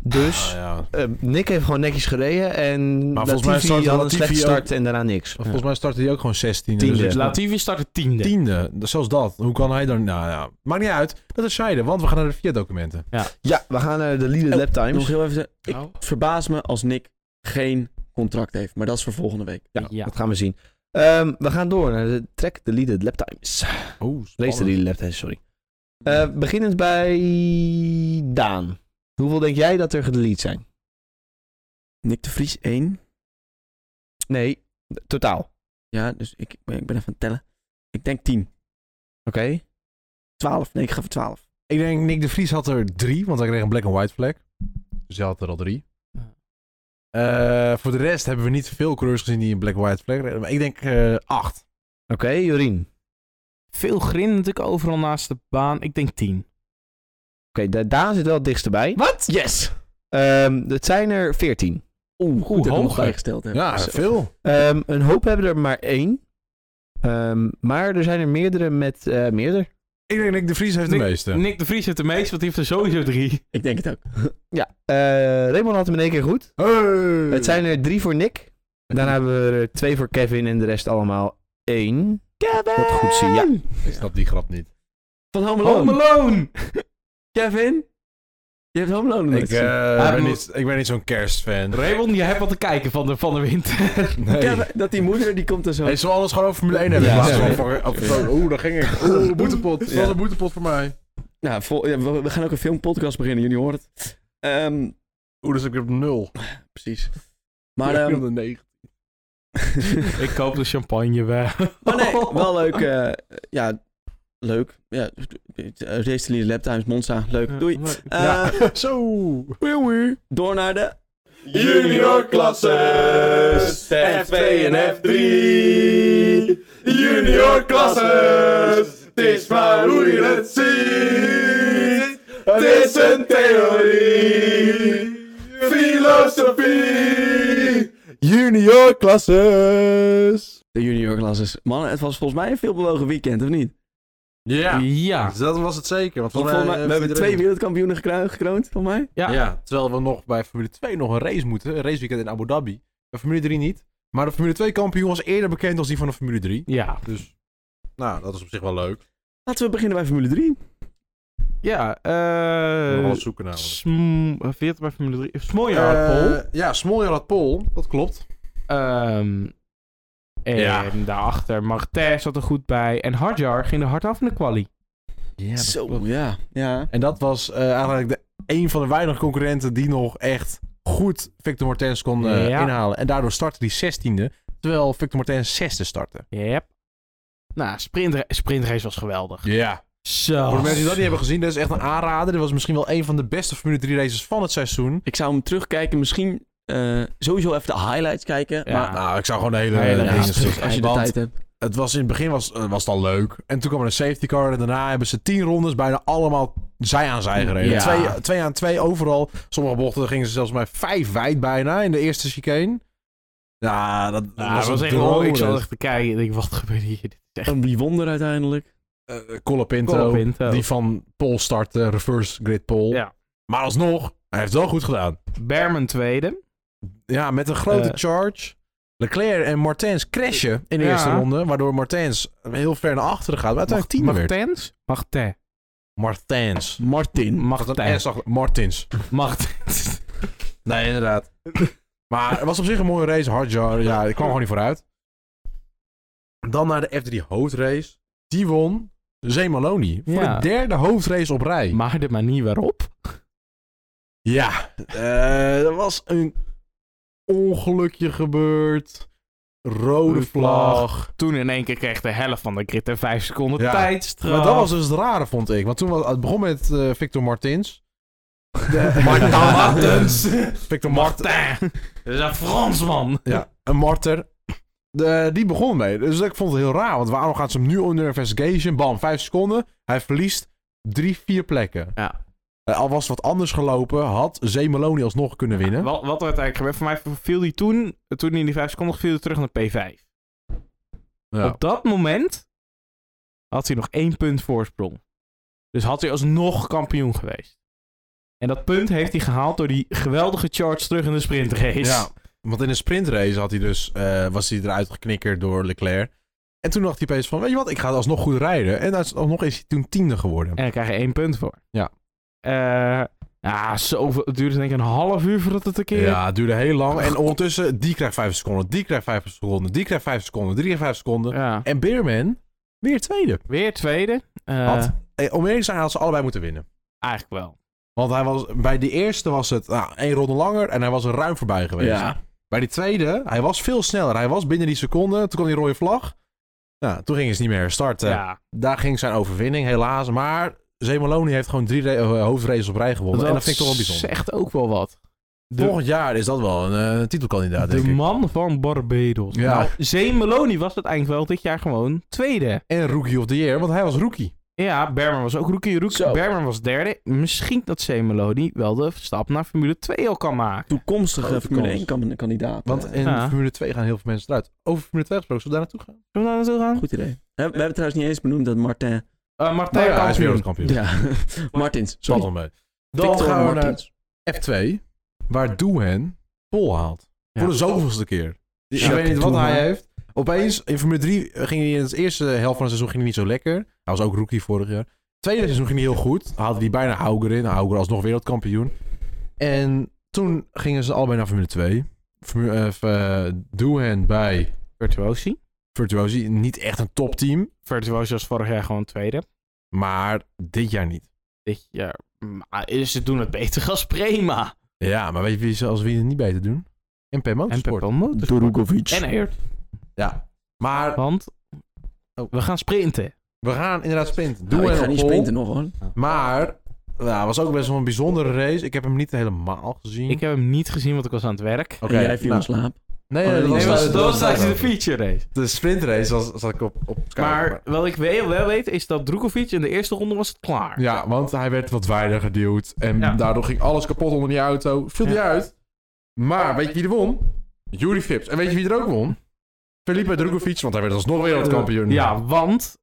Dus
Ah, ja.
eh, Nick heeft gewoon netjes gereden en
Maar volgens mij
Latifi
startte
had een
Latifi
slechte
ook-
start en daarna niks.
Volgens mij startte hij ook gewoon 16.
Tiende.
Dus het-
Latifi start het tiende.
tiende. Dus Zelfs dat. Hoe kan hij dan... Nou ja, maakt niet uit. Dat is zijde, want we gaan naar de VIA-documenten.
Ja, we gaan naar de leaded
Oh,
lap
nog
times.
heel even zeggen. Ik
Oh.
verbaas me als Nick geen contract heeft. Maar dat is voor volgende week.
Ja,
Ja.
dat gaan we zien. Ehm, we gaan door naar de track de leaded lap times.
Oh,
Lees de leaded lap times, sorry. Eh, beginnend bij Daan. Hoeveel denk jij dat er gedelete zijn?
Nick de Vries 1.
Nee, totaal.
Ja, dus ik, ik ben ik ben even aan het tellen. Ik denk 10.
Oké.
12. Nee, ik ga voor 12.
Ik denk Nick de Vries had er drie, want hij kreeg een black en white flag. Dus hij had er al drie.
Ja.
Eh, voor de rest hebben we niet veel coureurs gezien die een black en white flag reden. Maar ik denk eh, acht.
Oké, Jorien. Oké,
Veel grind natuurlijk overal naast de baan. Ik denk tien.
da- Daan zit wel het dichtst erbij.
Wat? Yes!
Ehm, het zijn er veertien.
Oeh, goed dat ik hem nog
hoger.
bijgesteld heb.
Ja,
Zo.
veel.
Ehm, een hoop hebben er maar één. Ehm, maar er zijn er meerdere met eh meerdere.
Ik denk Nick de Vries heeft
Nick-
de meeste.
Nick de Vries heeft de meeste, want die heeft er sowieso drie.
Ik denk het ook.
Ja. Eh Raymond had hem in één keer goed.
Hey!
Het zijn er drie voor Nick. Daarna hebben we er twee voor Kevin en de rest allemaal één.
Kevin!
Dat goed zie, ja.
Ik snap die grap niet.
Van Home Alone.
Home Alone!
Kevin? Je hebt Home Alone nog nooit
Ik, eh,
gezien.
ben,
moet-
niet, ik ben niet zo'n kerstfan.
Raymond, je hebt wat te kijken van de, van de winter.
Nee.
Kevin, dat die moeder, die komt er zo...
Hey, zullen we alles gewoon over Formule 1 hebben?
Ja,
in plaats van
sorry.
over- over- over- Oeh, daar ging ik. Oeh, boetepot. Dat was
Ja.
een boetepot voor mij.
Nou, vol- ja, we, we gaan ook een filmpodcast beginnen, jullie horen het. Ehm,
Oeh, dus ik heb nul.
precies. Maar,
ik
ehm,
heb negen.
ik Oh. koop de champagne weg.
maar Oh, nee, wel leuk. eh, ja, leuk. Ja, race leader lap times, Monza, leuk. Doei. Eh,
Ja. Zo.
Door naar de...
Junior klasses, F2 en F3. Junior klasses, het is maar hoe je het ziet. Het is een theorie, filosofie. Junior klasses.
De junior classes. Mannen, het was volgens mij een veelbewogen weekend, of niet?
Ja. Dus
ja.
Dat was het zeker. Want
Want
volgens
volgens mij, eh,
mij
we hebben
heeft
twee
iedereen-
wereldkampioenen gekroond, gekroond volgens mij.
Ja.
Ja. terwijl we nog bij Formule 2 nog een race moeten. Een raceweekend in Abu Dhabi. Bij Formule 3 niet. Maar de Formule 2 kampioen was eerder bekend als die van de Formule 3.
Ja.
Dus, nou, dat is op zich wel leuk.
Laten we beginnen bij Formule 3.
Ja,
we gaan
eh...
wat zoeken namelijk.
Sm... eh, Veert bij Formule 3. Smoljaard, Paul.
Eh, ja, Smoljaard Pol. Dat klopt.
Ehm, en
Ja.
daarachter Martin zat er goed bij. En Hardjar ging er hard af in de quali.
Ja,
Zo, ja. ja.
En dat was eh, eigenlijk de, een van de weinige concurrenten die nog echt goed Victor Martens kon eh,
Ja.
inhalen. En daardoor startte die 16e, terwijl Victor Martens 6e startte.
Yep. Nou, sprintra- sprintrace was geweldig.
Ja.
Zo.
Voor de mensen die dat niet hebben gezien, dat is echt een aanrader. Dit was misschien wel een van de beste Formule 3 races van het seizoen.
Ik zou hem terugkijken, misschien eh, sowieso even de highlights kijken.
Ja.
Maar
Nou, ik zou gewoon de hele,
Hele
hele
ja,
race
race
terug, als je de tijd hebt.
het was in het begin was, eh, was het al leuk. En toen kwam er een safety car. En daarna hebben ze tien rondes bijna allemaal zij aan zij gereden.
Ja.
Twee, twee aan twee overal. Sommige bochten gingen ze zelfs maar vijf wijd bijna in de eerste chicane. Ja, dat, dat
Nou, dat was
een
echt wel, ik
droomrit.
zat echt te kijken en ik dacht, wat gebeurt hier? Dit is echt
En wie won er uiteindelijk?
Eh, Colapinto,
Colapinto.
die van pole start, eh, reverse grid pole.
Ja.
Maar alsnog, hij heeft het wel goed gedaan.
Berman tweede.
Ja, met een grote
Eh.
charge. Leclerc en Martens crashen in de
Ja.
eerste ronde, waardoor Martens heel ver naar achteren gaat, maar uiteindelijk tiende werd.
Martens? Martin.
Martens.
Martin.
Wat
Martin.
een S achter- Martins.
Martens.
Nee, inderdaad. maar het was op zich een mooie race. Hard jar. Ja, ik kwam gewoon niet vooruit. Dan naar de F3 hoofdrace. Die won Zemaloni. Voor
Ja.
de derde hoofdrace op rij.
Maar de manier waarop?
Ja, eh, er was een ongelukje gebeurd. Rode
Rode
vlag.
Toen in één keer kreeg de helft van de grid er vijf seconden
Ja.
tijdstraf.
Maar dat was dus het rare, vond ik. Want toen was, het begon met eh, Victor Martins. De-
Martin Martens.
Martens. Victor Martens.
Martin. Dat is een Fransman.
Ja, Eh, een marter. De, die begon mee. Dus ik vond het heel raar. Want waarom gaat ze hem nu onder investigation? Bam, vijf seconden. Hij verliest drie, vier plekken.
Ja.
Eh, al was het wat anders gelopen, had Zemeloni alsnog kunnen winnen.
Wat, wat er uiteindelijk gebeurd? Voor mij viel die toen, toen in die vijf seconden, viel hij terug naar P5.
Ja.
Op dat moment had hij nog één punt voorsprong. Dus had hij alsnog kampioen geweest. En dat punt heeft hij gehaald door die geweldige charge terug in de sprintrace.
Ja, want in een sprintrace had hij dus, eh, was hij eruit geknikkerd door Leclerc. En toen dacht hij opeens van, weet je wat, ik ga alsnog goed rijden. En alsnog is hij toen tiende geworden.
En dan krijg je één punt voor.
Ja.
Eh, ja, zoveel, het duurde denk ik een half uur voordat het een keer...
Ja, het duurde heel lang. En ondertussen, die krijgt vijf seconden, die krijgt vijf seconden, die krijgt vijf seconden, die krijgt vijf seconden.
Ja.
En Beerman, weer tweede.
Weer tweede. Eh,
Had, eh, om eerlijk te zijn, had ze allebei moeten winnen.
Eigenlijk wel.
Want hij was, bij de eerste was het nou, één ronde langer en hij was er ruim voorbij geweest.
Ja.
Bij die tweede, hij was veel sneller. Hij was binnen die seconde. Toen kwam die rode vlag. Nou, toen gingen ze niet meer herstarten.
Ja.
Daar ging zijn overwinning, helaas. Maar Zemaloni heeft gewoon drie re- eh, hoofdraces op rij gewonnen. en dat vind ik toch wel bijzonder.
Zegt ook wel wat. de-
Volgend jaar is dat wel een eh, titelkandidaat,
de
denk ik.
man van Barbados.
Ja.
Nou, Zeemeloni was het eigenlijk wel dit jaar gewoon tweede.
En Rookie of the Year, want hij was rookie.
Ja, Berman was ook rookie. rookie.
Zo.
Berman was derde. Misschien dat Zeemeloni wel de stap naar Formule 2 al kan maken.
Toekomstige
Grote
Formule
kans.
1 kan- kandidaat.
Want
Eh,
in
Ja.
Formule 2 gaan heel veel mensen eruit. Over Formule 2 gesproken, zullen we daar naartoe gaan?
Zullen we daar naartoe gaan?
Goed idee. Hè, We hebben trouwens niet eens benoemd dat Martin...
Eh, Martijn
Nou ja, hij is
kampioen.
wereldkampioen.
Ja, Martins.
Zat
Sorry.
al mee. Dan
Victor
gaan we naar
Martins.
F2, waar Doohan pol haalt.
Ja.
Voor de zoveelste keer. Ik
Jacques
weet niet wat
Doohan.
hij eh, heeft. Opeens, in Formule 3 ging hij in het eerste helft van het seizoen ging hij niet zo lekker. Hij was ook rookie vorig jaar. Tweede seizoen ging hij heel goed. Haalde hij bijna Hauger in. Hauger alsnog wereldkampioen. En toen gingen ze allebei naar Formule 2. Formu- eh, eh, Doohan bij
Virtuosi.
Virtuosi. Niet echt een topteam,
Virtuosi was vorig jaar gewoon tweede.
maar dit jaar niet.
Dit jaar... Maar ze doen het beter als Prema.
Ja, maar weet je wie ze als wie het niet beter doen? MP
En
Motorsport.
Pepel Motors. En
Durugovic.
Eert.
Ja. Maar
Want Oh. we gaan sprinten.
we gaan inderdaad sprinten.
Doe
Doohan
Ah, ik ga
op
niet
pole.
sprinten nog hoor.
Maar, nou, was ook best wel een bijzondere race. Ik heb hem niet helemaal gezien.
Ik heb hem niet gezien, want ik was aan het werk.
Oké,
En jij viel
nou,
in slaap.
Nee,
Oh,
nee,
nee,
dat
nee,
was,
maar
dat was
tijdens
de
feature race.
De sprintrace was, zat ik op, op Sky.
Maar wat ik wel, wel weet, is dat Drukovic in de eerste ronde was het klaar.
Ja, want hij werd wat wijder geduwd. En
Ja.
daardoor ging alles kapot onder die auto. Viel die
Ja.
uit. Maar weet je wie er won? Jury Phipps. En weet je wie er ook won? Felipe Drugovic, want hij werd alsnog wereldkampioen.
Ja, want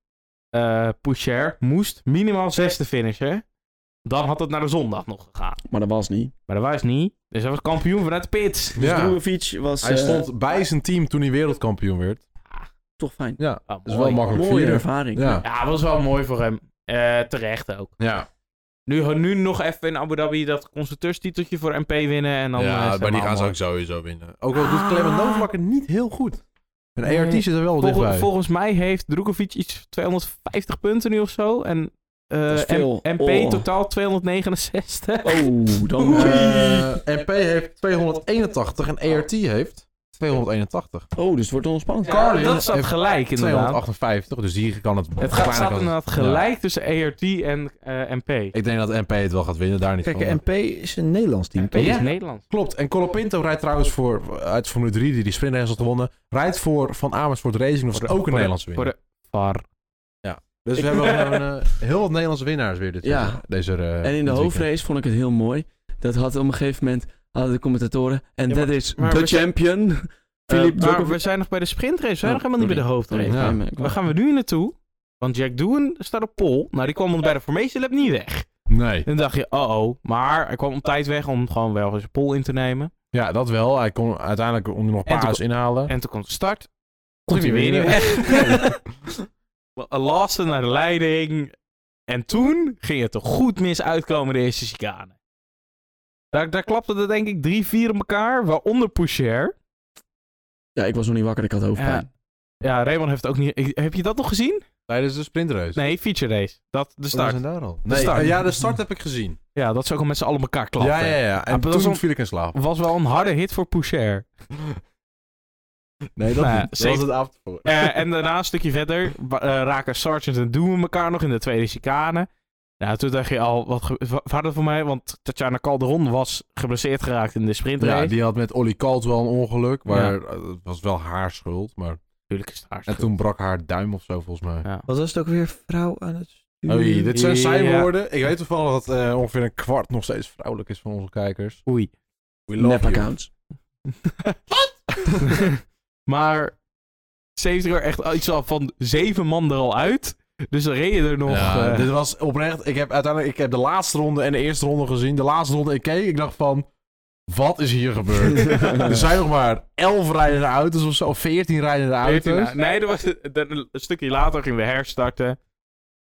eh Poucher moest minimaal zesde finishen. Dan had het naar de zondag nog gegaan.
Maar dat was niet.
Maar dat was niet. Dus hij was kampioen vanuit de pits.
Dus
Ja.
Drugovic was
Hij
eh,
stond bij zijn team toen hij wereldkampioen werd.
toch fijn.
Ja,
Ah,
dat is wel
mooi.
makkelijk
Mooie
vieren.
ervaring.
Ja.
Ja, dat was wel mooi voor hem. Eh, terecht ook.
ja.
Nu, nu nog even in Abu Dhabi dat constructeurstiteltje voor MP winnen. En dan eh, is het
Ja, maar die
helemaal
gaan ze
mooi.
ook sowieso winnen. Ook al
Ah.
doet Clement Novak het niet heel goed. Een ERT
Nee.
zit er wel
Volgens-
dichtbij.
volgens mij heeft Drukovic iets 250 punten nu of zo. En eh,
Dat is veel.
M- MP
Oh.
totaal 269.
Oh, dan...
Eh, NP heeft 281 en ERT heeft 281.
Oh, dus het wordt ontspannen.
Carlin dat staat
heeft
gelijk inderdaad.
258, dus hier kan het...
Het gaat, eh.
waarschijnlijk
staat
wel-
inderdaad gelijk tussen ERT en eh, MP.
Ik denk dat MP het wel gaat winnen, daar niet
Kijk,
van.
MP is een Nederlands team.
MP
toch?
is Nederland.
Klopt, en Colapinto rijdt trouwens voor, uit Formule 3, die die sprintrace had gewonnen, rijdt voor Van Amersfoort Racing, dat was ook een Nederlandse
Voor
winnaar.
de VAR.
Dus we hebben gewoon eh, heel wat Nederlandse winnaars weer dit
Ja.
eh, deze eh,
En in
dit
de
weekend.
hoofdrace vond ik het heel mooi. Dat had op een gegeven moment hadden de commentatoren. En
Ja,
dat
maar-
is
maar
de
we zijn-
champion. Philippe
Eh, maar we
Djokovic.
zijn nog bij de sprintrace, we zijn
Oh,
nog helemaal niet bij de hoofdrace.
Nee,
Ja.
nee, maar ik-
Waar gaan we nu naartoe? Want Jack Doen staat op pol. Nou, die kwam bij de Formation Lab niet weg.
Nee.
En dan dacht je, oh oh. Maar hij kwam op tijd weg om gewoon wel eens een pol in te nemen.
Ja, dat wel. Hij kon uiteindelijk om nog
En toen
paars inhalen.
En toen kwam de start.
Komt
toen
hij
weer niet
weer
weg. Laatste naar de leiding. En toen ging het er goed mis uitkomen, de eerste chicane. Daar, daar klapte er denk ik drie, vier op elkaar. Waaronder Poucher.
Ja, ik was nog niet wakker. Ik had hoofdpijn.
Ja, Raymond heeft ook niet... ik- Heb je dat nog gezien?
Tijdens de sprintrace.
Nee, feature race. Dat, de
Wat was
start.
er daar al? Nee,
start.
eh, ja, de start heb ik gezien.
Ja, dat ze ook al met z'n allen elkaar klapten.
Ja, ja, ja. En
Ah, dat was
toen
om-
viel ik in slaap.
was wel een harde hit voor Poucher.
Nee,
dat Nou ja, niet. Dat zeven- was
het avond voor.
Eh, en daarna een stukje verder wa- eh, raken Sargent en Doom elkaar nog in de tweede chicane. Nou, toen dacht je al, wat ge- wa- wat had het voor mij? Want Tatjana Calderon was geblesseerd geraakt in de sprintrace.
Ja,
Ja,
die had met Olly Caldwell een ongeluk. Maar eh, het was wel haar schuld. Maar...
natuurlijk is het haar
En
schuld.
toen brak haar duim of zo, volgens mij.
Ja.
Wat was het ook weer? Vrouw aan het sturen.
Oei, dit zijn zijn
Ja.
woorden. Ik weet toevallig dat eh, ongeveer een kwart nog steeds vrouwelijk is van onze kijkers.
Oei.
We
Nep accounts.
maar 70 er echt iets al van zeven man er al uit. Dus er reden er nog...
ja,
eh,
dit was oprecht. Ik heb uiteindelijk ik heb de laatste ronde en de eerste ronde gezien. De laatste ronde, ik keek, ik dacht van... Wat is hier gebeurd? er zijn nog maar 11 rijdende auto's of zo. Of 14 rijdende auto's.
14 na- nee, dat was dat- een stukje later gingen we herstarten.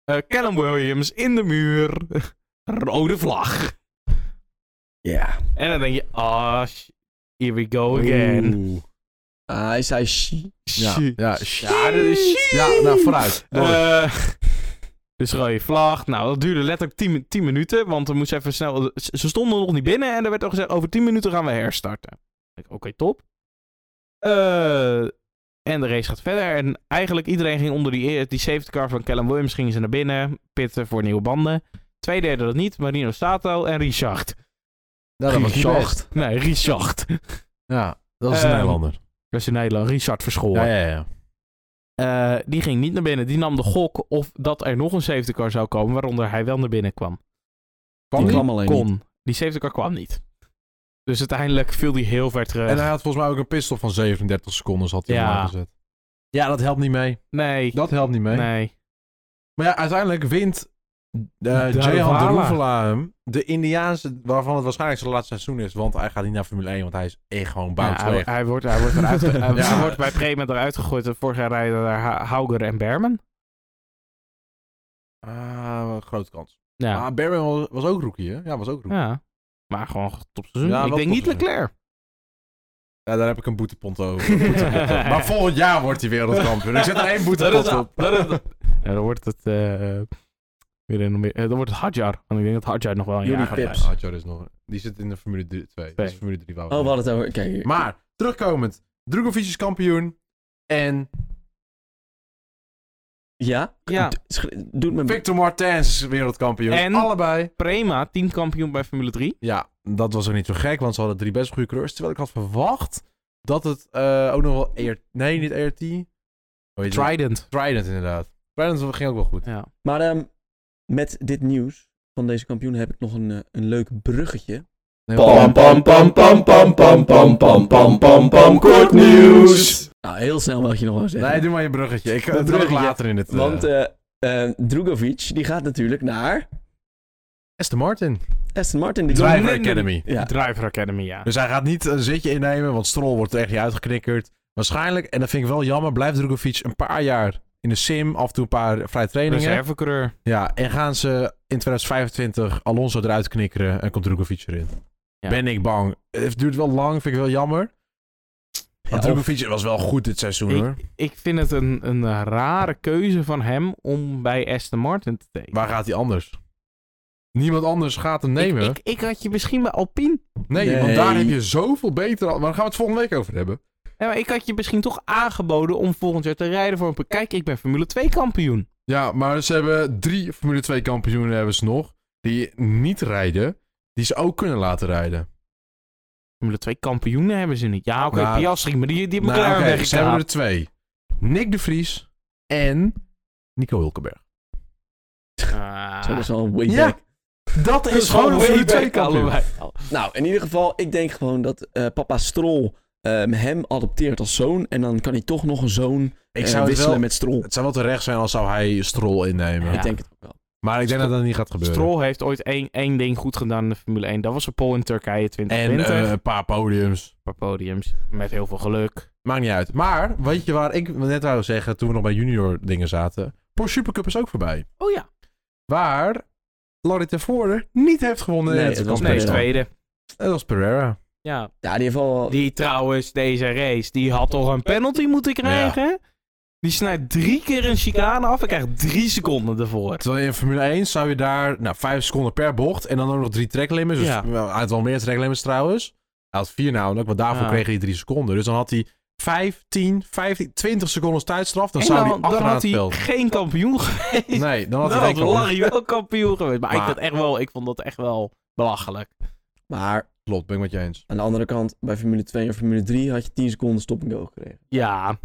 Eh Callum Williams in de muur. Rode vlag.
Ja.
En dan denk je, ah, sh- here we go again.
Oeh.
Ah, hij zei shi.
Ja,
Shit.
ja, shit.
Ja, dat is shit.
Ja, nou vooruit.
Eh, dus rode vlag. Nou, dat duurde letterlijk 10, mi- 10 minuten. Want we moesten even snel. Ze ze stonden nog niet binnen. En er werd al gezegd: over 10 minuten gaan we herstarten. Ik, Oké, top. Eh, en de race gaat verder. En eigenlijk iedereen ging onder die, eh, die safety car van Callum Williams. Gingen ze naar binnen. Pitten voor nieuwe banden. Twee deden dat niet. Marino Sato en Richard.
Ja, dat was niet best.
Zacht.
Nee, Richard.
Ja, dat is een
Ehm,
Nederlander.
Dat is in Nederland. Richard Verschoor.
Ja, ja, ja.
Eh, die ging niet naar binnen. Die nam de gok of dat er nog een safety car zou komen, waaronder hij wel naar binnen kwam.
Die kwam alleen
Kon.
niet.
Die safety car kwam niet. Dus uiteindelijk viel die heel ver terug.
En hij had volgens mij ook een pistol van 37 seconden had hij
Ja.
ja. gezet. Ja, dat helpt niet mee.
nee,
Dat helpt niet mee.
nee.
Maar ja, uiteindelijk wint eh Jehan
De
de
Roevala.
Roevela hem. De Indiaanse, waarvan het waarschijnlijk zijn laatste seizoen is. Want hij gaat niet naar Formule 1, want hij is echt gewoon
Ja,
bout
hij,
weg.
hij wordt, hij wordt, eruit, ge- hij,
Ja.
hij wordt bij Prema eruit gegooid. En vorig jaar rijden daar Ha- Hauger en Berman.
Ah, wat grote kans.
Ja.
Ah, Berman was, was ook rookie, hè? Ja, was ook rookie. Ja.
ja. Maar gewoon topseizoen.
Ja,
ik
wel
denk niet
topseizoen.
Leclerc.
daar heb ik een boetepont over. Boetepont over. maar volgend jaar wordt hij wereldkampioen. Ik zet er één boetepont op.
Ja, dan wordt het... eh, weer een, eh, dan wordt het Hadjar. Want ik denk dat Hadjar nog wel een
Jullie
jaar
Ja,
gaat
Pips.
blijven.
ja, Adjar is Ah, nog. Die zit in de Formule 2. Dat is Formule 3
Oh, we hadden het over. Kijk hier.
Maar, terugkomend. Drogovic is kampioen. En
Ja?
Ja.
D- sch- Doet me...
Victor Martens is wereldkampioen.
En-
Allebei.
Prema, teamkampioen bij Formule 3.
Ja, dat was ook niet zo gek, want ze hadden drie best goede coureurs. Terwijl ik had verwacht dat het eh, ook nog wel ERT... Nee, niet ERT. Hoe heet het?
Trident.
Oh, Trident, inderdaad. Trident ging ook wel goed.
Ja.
Maar ehm, met dit nieuws van deze kampioen heb ik nog een, eh, een leuk bruggetje.
Pam pam pam pam pam pam pam pam pam pam pam kort nieuws.
Nou, heel snel wat je nog wel zeggen.
Nee, doe maar je bruggetje. Ik
Een
dat doe ik
bruggetje.
later in het... eh,
Want eh eh, Drugovic, die gaat natuurlijk naar
Aston Martin.
Aston Martin. Die
Driver
Driver
Driver
Academy.
Academy.
Ja.
Driver Academy, ja.
Dus hij gaat niet een zitje innemen, want Stroll wordt er echt niet uitgeknikkerd. Waarschijnlijk, en dat vind ik wel jammer, blijft Drugovic een paar jaar in de sim, af en toe een paar vrije trainingen.
Reservecoureur.
Ja, en gaan ze in 2025 Alonso eruit knikkeren en komt Drugovic erin.
Ja.
Ben ik bang. Het duurt wel lang, vind ik wel jammer. Want
Ja, of-
Drugovic was wel goed dit seizoen hoor.
Ik, ik vind het een, een rare keuze van hem om bij Aston Martin te tekenen.
Waar gaat hij anders? Niemand anders gaat hem nemen.
Ik, ik, ik had je misschien bij Alpine.
nee,
Nee.
want daar heb je zoveel beter... al- Maar daar gaan we het volgende week over hebben.
Nee, maar ik had je misschien toch aangeboden om volgend jaar te rijden voor een... Kijk, ik ben Formule 2 kampioen.
Ja, maar ze hebben drie Formule 2 kampioenen hebben ze nog. Die niet rijden. Die ze ook kunnen laten rijden.
Formule 2 kampioenen hebben ze niet. Ja, oké,
Nou,
Piastri, maar die, die hebben
Nou,
nou,
oké,
okay,
ze hebben er twee. Nick de Vries en Nico Hulkenberg.
Zo, dat is al way
Ja.
back.
Dat
Ah. is gewoon een Formule 2
kampioen.
kampioen.
Nou, in ieder geval, ik denk gewoon dat eh, papa Strol ehm, hem adopteert als zoon. En dan kan hij toch nog een zoon
Ik
eh,
zou het,
wisselen
wel,
met Strol.
het zou wel terecht zijn als zou hij Strol innemen.
Ja.
Ik denk het ook wel.
Maar ik denk dat dat niet gaat gebeuren.
Stroll heeft ooit één, één ding goed gedaan in de Formule 1. Dat was een pole in Turkije
en
2020.
eh, een paar podiums.
Een paar podiums. Met heel veel geluk.
Maakt niet uit. Maar, weet je waar ik net wou zeggen toen we nog bij junior dingen zaten? Porsche Supercup is ook voorbij.
Oh ja.
Waar Larry Tevoren niet heeft gewonnen.
Nee,
in het
het was
Nee,
Pereira.
tweede.
Dat was Pereira.
Ja.
Ja, die heeft wel...
Die trouwens, deze race, die had toch een penalty moeten krijgen? Die snijdt drie keer een chicane af en krijgt drie seconden ervoor.
Terwijl in Formule 1 zou je daar nou, 5 seconden per bocht en dan ook nog drie tracklimits. Dus
Ja.
wel- hij had wel meer tracklimits trouwens. Hij had vier namelijk, want daarvoor
Ja.
kreeg hij drie seconden. Dus dan had hij 5, 10, 15, 20 seconden tijdstraf. Dan
en
zou
dan,
hij
dan
achteraan
had
het
hij
veld.
geen kampioen geweest.
Nee, dan had
dan
hij geen kampioen.
Nou, had Larry wel kampioen geweest. Maar, ik,
Maar-
dat echt wel, ik vond dat echt wel belachelijk.
Maar
Klopt, ben ik met je eens.
aan de andere kant, bij Formule 2 en Formule 3 had je 10 seconden stop en go gekregen.
Ja.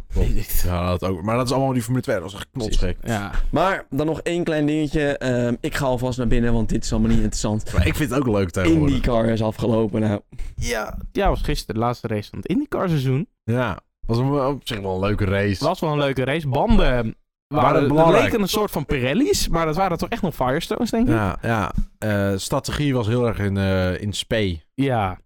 Ja, dat ook. Maar dat is allemaal die Formule 2. Dat is echt knotsgek.
ja.
Maar dan nog één klein dingetje. Ehm, ik ga alvast naar binnen, want dit is allemaal niet interessant.
Maar ik vind het ook leuk tegenwoordig.
IndyCar is afgelopen. Nou,
Ja. Ja, was gisteren de laatste race van het IndyCar seizoen.
Ja, was een, eh, op zich wel een leuke race.
was wel een leuke race. Banden
Waren
waren,
belangrijk.
leken een soort van Pirelli's, maar dat waren toch echt nog Firestones, denk ik? Ja.
Ja, ja. Eh, strategie was heel erg in, eh in spe.
En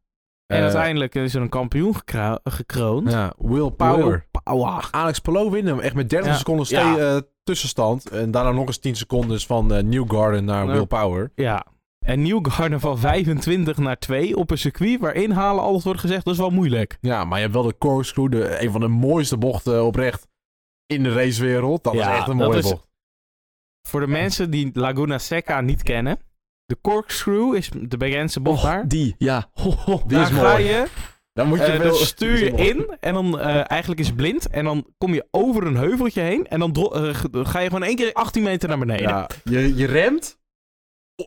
Eh,
uiteindelijk is er een kampioen gekra- gekroond.
Ja, Will Power.
Will Power.
Alex Palou winnen hem echt met 30
Ja.
seconden ste-
Ja.
eh, tussenstand. En daarna nog eens 10 seconden van eh, Newgarden naar
Ja.
Will Power.
Ja. En Newgarden van 25 naar 2 op een circuit waar inhalen alles wordt gezegd, dat is wel moeilijk.
Ja, maar je hebt wel de corkscrew, de, een van de mooiste bochten oprecht in de racewereld. Dat
Ja,
is echt een
dat
mooie
is-
bocht.
Voor de mensen die Laguna Seca niet kennen, de corkscrew is de bekendste bocht daar.
die, ja. Ho, ho.
Die
daar
is
ga
mooi.
je
Dan moet je
Eh,
wel-
dan stuur je
Die is mooi.
in en dan eh, eigenlijk is het blind. En dan kom je over een heuveltje heen. En dan dro- eh, ge- ga je gewoon één keer 18 meter naar beneden.
Ja, je, je remt.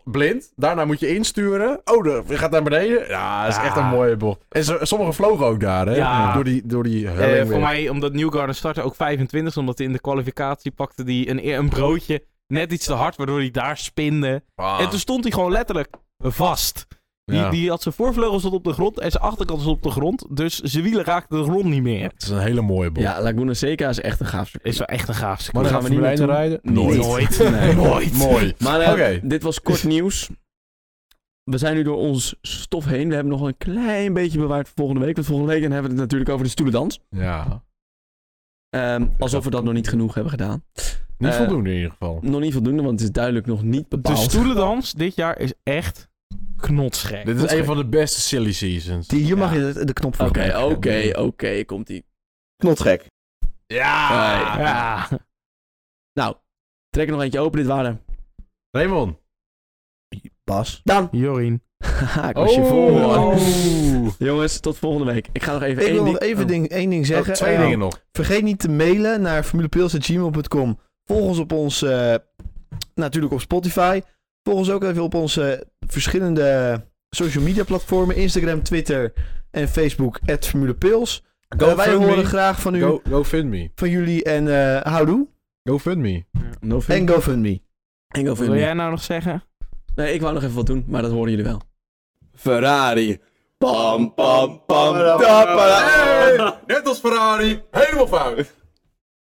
Blind. Daarna moet je insturen. Oh, de, je gaat naar beneden. Ja, dat is
Ja.
echt een mooie bocht. En zo- sommigen vlogen ook daar, hè?
Ja.
Door die, door die
Eh,
helling weer.
voor mij, omdat Newgarden startte ook 25, omdat hij in de kwalificatie pakte die een, een broodje net iets te hard, waardoor hij daar spinde.
Ah.
En toen stond hij gewoon letterlijk vast. Die,
Ja.
die had zijn voorvleugels tot op de grond en zijn achterkant tot op de grond. Dus zijn wielen raakten de grond niet meer.
Het is een hele mooie bocht.
Ja, Laguna Seca is echt een gaaf circuit.
Is wel echt een gaaf circuit.
Maar dan
Gaan we
gaan we
niet
niet
meer toe?
rijden?
Niet.
Nooit.
Nee.
Nooit.
Mooi.
Maar eh,
Oké.
dit was kort nieuws. We zijn nu door ons stof heen. We hebben nog een klein beetje bewaard voor volgende week. Want volgende week hebben we het natuurlijk over de stoelendans.
Ja.
Ehm, alsof we dat nog niet genoeg hebben gedaan.
Niet
Eh,
voldoende in ieder geval.
Nog niet voldoende, want het is duidelijk nog niet
De
bepaald.
stoelendans dit jaar is echt knotsgek.
Dit is een van de beste silly seasons.
Die, hier mag
Ja.
je de, de knop voor
Oké,
gebruiken.
oké, oké. Komt ie.
Knotgek.
Ja!
Ja.
Nou, trek er nog eentje open. Dit waren
Raymond.
Bas.
Daan.
Jorien.
Haha, ik was je voor. Jongens, tot volgende week. Ik ga nog even
Ik wil
één
nog
ding...
even
Oh.
ding, één ding zeggen.
Oh, twee
Eh,
dingen nog.
Vergeet niet te mailen naar formulepils.gmail.com. Volg ons op ons, eh, natuurlijk op Spotify. Volg ons ook even op onze verschillende social media platformen. Instagram, Twitter en Facebook, at formulepils. Eh, wij
GoFundMe.
horen graag van, u,
Go, go fund me.
van jullie en eh houdoe.
Go fund me.
No
En
film.
GoFundMe.
En go
Wat
film.
wil jij nou nog zeggen?
Nee, ik wou nog even wat doen, maar dat horen jullie wel.
Ferrari. Pam, pam, pam. tapara.
Net als Ferrari. Helemaal fout.